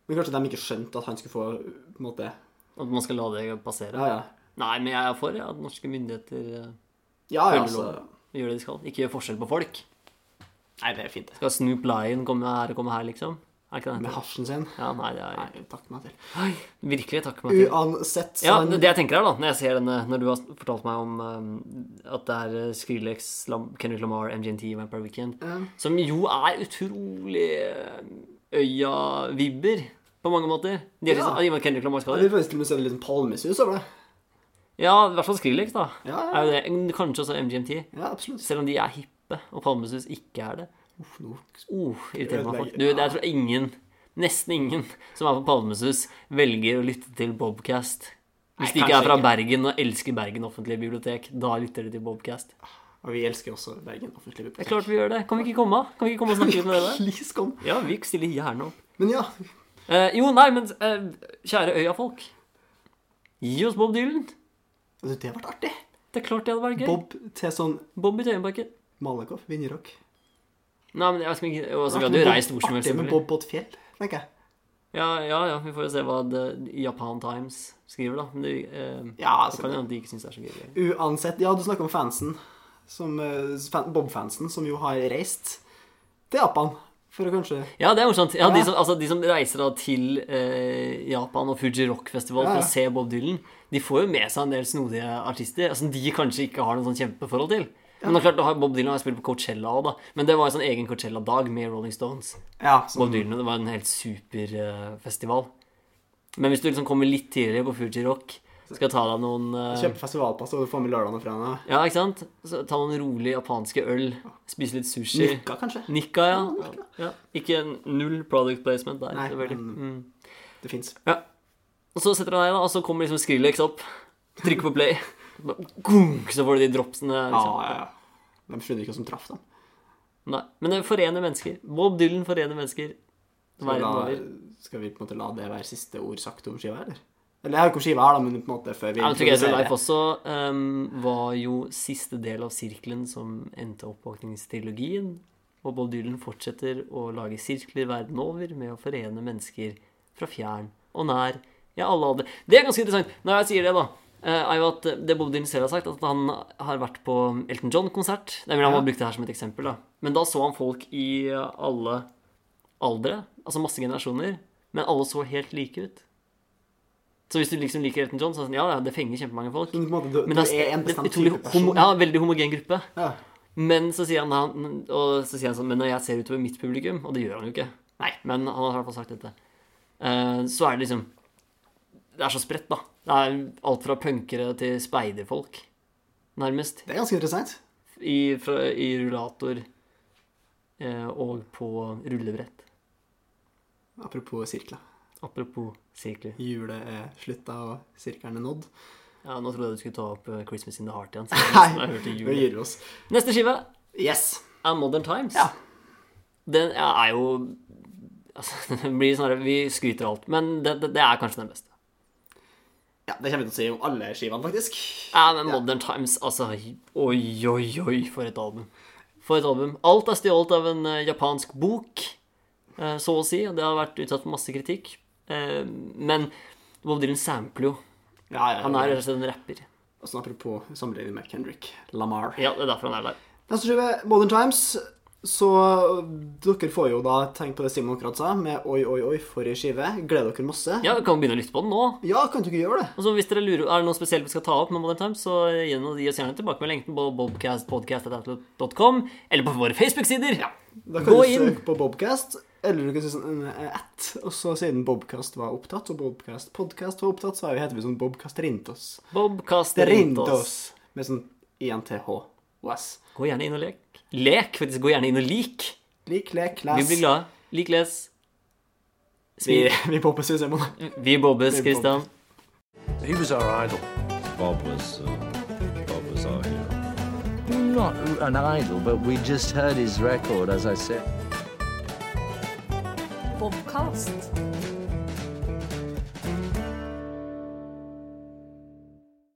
Speaker 4: men kanskje de ikke skjønte at han skulle få på en måte
Speaker 3: At man skal la det passere.
Speaker 4: Ja, ja.
Speaker 3: Nei, men jeg er for ja, at norske myndigheter eh,
Speaker 4: Ja, ja,
Speaker 3: Følger
Speaker 4: altså.
Speaker 3: loven. gjør det de skal. Ikke gjør forskjell på folk.
Speaker 4: Nei, det er fint, det.
Speaker 3: Skal Snoop Lion komme her og komme her, liksom? Er ikke det han
Speaker 4: Med
Speaker 3: heter?
Speaker 4: hasjen sin.
Speaker 3: Ja, nei, det er
Speaker 4: Nei, takk meg til.
Speaker 3: Oi, virkelig takk, Mathilde.
Speaker 4: Uansett, så
Speaker 3: Ja,
Speaker 4: han
Speaker 3: det jeg tenker her da, når jeg ser denne, når du har fortalt meg om eh, at det er eh, Skrillex, Lam Kendrick Lamar, MGMT, Vampire Weekend, som jo er utrolig eh, øya-vibber på mange måter. De er
Speaker 4: Ja.
Speaker 3: liksom, i og med at Kendrick Lamar
Speaker 4: Ja,
Speaker 3: skal
Speaker 4: vi
Speaker 3: det.
Speaker 4: faktisk til og med se litt sånn palmesus over det.
Speaker 3: Ja, i hvert fall Skrillex da.
Speaker 4: Ja,
Speaker 3: Er jo det. Kanskje også MGMT,
Speaker 4: Ja, absolutt.
Speaker 3: selv om de er hippe, og Palmesus ikke er det.
Speaker 4: Uff, nå.
Speaker 3: Uh, irriterer meg folk.
Speaker 4: Ødelegger.
Speaker 3: Du, det er tror jeg ingen, nesten ingen, som er på Palmesus, velger å lytte til Bobcast. Hvis de
Speaker 4: Nei,
Speaker 3: ikke er
Speaker 4: kanskje
Speaker 3: fra
Speaker 4: ikke.
Speaker 3: Bergen og elsker Bergen offentlige bibliotek, da lytter de til Bobcast.
Speaker 4: Og vi elsker også Bergen offentlig
Speaker 3: Det er klart vi gjør det. Kan vi ikke komme? Kan vi ikke komme og snakke litt med dere?
Speaker 4: Please, kom.
Speaker 3: Ja, vi stiller gjerne opp.
Speaker 4: Men ja,
Speaker 3: Eh, jo, nei, men eh, kjære øya-folk. Gi oss Bob Dylan.
Speaker 4: altså, det ble artig.
Speaker 3: Det er klart det hadde vært gøy. Bob,
Speaker 4: Bob til sånn
Speaker 3: i Tøyenbakken.
Speaker 4: Malakoff, Vinjerock.
Speaker 3: Nei, men jeg vet ikke, altså, Vi hadde jo reist hvor som helst.
Speaker 4: Artig med
Speaker 3: selvfølgelig.
Speaker 4: Bob på et fjell, tenker jeg.
Speaker 3: Ja, ja, ja, vi får jo se hva The Japan Times skriver, da. Men det, eh,
Speaker 4: Ja,
Speaker 3: det
Speaker 4: altså,
Speaker 3: kan jo hende at de ikke syns det er så gøy.
Speaker 4: Uansett, ja, du snakker om fansen. Som, eh, fan, Bob-fansen, som jo har reist til Japan. For å kanskje
Speaker 3: Ja, det er morsomt. Ja, de,
Speaker 4: Ja.
Speaker 3: som, altså, de som reiser da til eh, Japan og Fuji Rock Festival
Speaker 4: Ja, ja.
Speaker 3: for å se Bob Dylan, de får jo med seg en del snodige artister altså, som de kanskje ikke har noe sånn kjempeforhold til. Men det er klart, da har Bob Dylan har spilt på Coachella òg, da. Men det var en sånn egen Coachella-dag med Rolling Stones.
Speaker 4: Ja, sånn. som,
Speaker 3: Bob Dylan, og det var en helt super eh, festival. Men hvis du liksom kommer litt tidligere på Fuji Rock, skal ta deg noen eh,
Speaker 4: kjøpe festivalpass og få med lørdagene fra henne.
Speaker 3: Ja, ikke sant? Så ta noen rolig japanske øl, spise litt sushi.
Speaker 4: Nikka, kanskje.
Speaker 3: Nikka, ja. ja. Ikke en null product placement der.
Speaker 4: Nei,
Speaker 3: selvfølgelig.
Speaker 4: men- Det fins.
Speaker 3: Ja. Mm. Og så setter han deg, da, og så kommer liksom Skrillex opp. Trykker på play. Bare gunk, Så får du de dropsene.
Speaker 4: Ja,
Speaker 3: Liksom.
Speaker 4: ja, ja. De skjønner ikke hva som traff dem.
Speaker 3: Nei. Men det forener mennesker. Bob Dylan forener mennesker.
Speaker 4: Skal vi,
Speaker 3: Verden over.
Speaker 4: la, skal vi på en måte la det være siste ord sagt om skiva, eller? Eller jeg har jo ikke om skiva her, da, men på en måte før vi
Speaker 3: Ja, men Together
Speaker 4: introduserer-
Speaker 3: Life også ehm, var jo siste del av sirkelen som endte oppvåkningstrilogien. Og Bob Dylan fortsetter å lage sirkler verden over med å forene mennesker fra fjern og nær. Ja, alle hadde Det er ganske interessant. Når jeg sier det, da, eh, er jo at det Bob Dylan selv har sagt, at han har vært på Elton John-konsert. Nei, men Han har brukt det her som et eksempel, da. Men da så han folk i alle aldre, altså masse generasjoner, men alle så helt like ut. Så hvis du liksom liker Elton John, så er det sånn, ja, ja, det fenger kjempemange folk.
Speaker 4: Men på en måte, du,
Speaker 3: Men
Speaker 4: du
Speaker 3: det er,
Speaker 4: er en bestemt
Speaker 3: utrolig
Speaker 4: type
Speaker 3: homo,
Speaker 4: person.
Speaker 3: ja, veldig homogen gruppe.
Speaker 4: Ja.
Speaker 3: Men så sier han, da, og så sier han sånn, men når jeg ser utover mitt publikum, og det gjør han jo ikke, nei, men han har i hvert fall sagt dette, eh, så er det liksom, det er så spredt da. Det er alt fra punkere til speiderfolk, nærmest,
Speaker 4: Det er ganske interessant.
Speaker 3: i, fra, i rullator eh, og på rullebrett.
Speaker 4: Apropos sirkler.
Speaker 3: Apropos sirkler.
Speaker 4: Julet er slutta, og sirkelen er nådd.
Speaker 3: Ja, nå trodde jeg du skulle ta opp eh, Christmas in the Heart igjen. så jeg hørte
Speaker 4: Nei,
Speaker 3: jul.
Speaker 4: nå gir vi oss.
Speaker 3: Neste skive
Speaker 4: Yes.
Speaker 3: er Modern Times.
Speaker 4: Ja.
Speaker 3: Den er jo altså, det blir sånn her, Vi skryter av alt, men det, det, det er kanskje den beste.
Speaker 4: Ja, Det kommer vi til å si om alle skivene, faktisk.
Speaker 3: Ja, men Modern Times, altså Oi, oi, oi, for et album. For et album. Alt er stjålet av en eh, japansk bok, eh, så å si. og Det har vært utsatt for masse kritikk. Eh, men Bob Dylan sampler jo.
Speaker 4: Ja, ja,
Speaker 3: Han er rett og slett en rapper.
Speaker 4: Og sånn apropos sammenligning med Kendrick Lamar.
Speaker 3: Ja, det er derfor han er der.
Speaker 4: Neste skive, Modern Times. Så eh, dere får jo da tenkt på det Simon akkurat sa, med oi, oi, oi, for ei skive. Gleder dere masse.
Speaker 3: Ja, vi kan begynne å lytte på den nå.
Speaker 4: ja, kan dere gjøre det?
Speaker 3: Og så hvis dere lurer, Er det noe spesielt vi skal ta opp med Modern Times, så gi oss gi oss gjerne tilbakemelding enten på bobcastpodcast.com eller på våre Facebook-sider.
Speaker 4: Da kan
Speaker 3: Gå
Speaker 4: du
Speaker 3: inn.
Speaker 4: søke på Bobcast, eller du kan si sånn eh, at. Og så siden Bobcast var opptatt, og Bobcast podcast var opptatt, så er vi- heter vi sånn Bobcast Rintos.
Speaker 3: Bobcast rundt
Speaker 4: Rintos.
Speaker 3: oss.
Speaker 4: Med sånn INTH og S.
Speaker 3: Gå gjerne inn og lek. Lek, faktisk. Gå gjerne inn og lik.
Speaker 4: Lik, lek,
Speaker 3: Vi
Speaker 4: les.
Speaker 3: blir glade. Lik, les.
Speaker 4: Vi,
Speaker 3: Smil.
Speaker 4: vi poppes jo, Simon.
Speaker 3: Vi bobbes,
Speaker 4: Vi bobbes.
Speaker 3: Kristian.
Speaker 6: He was our idol.
Speaker 7: Bob was, uh, Bob was our hero.
Speaker 1: Not an idol, but we just heard his record, as I said.
Speaker 2: Bobcast.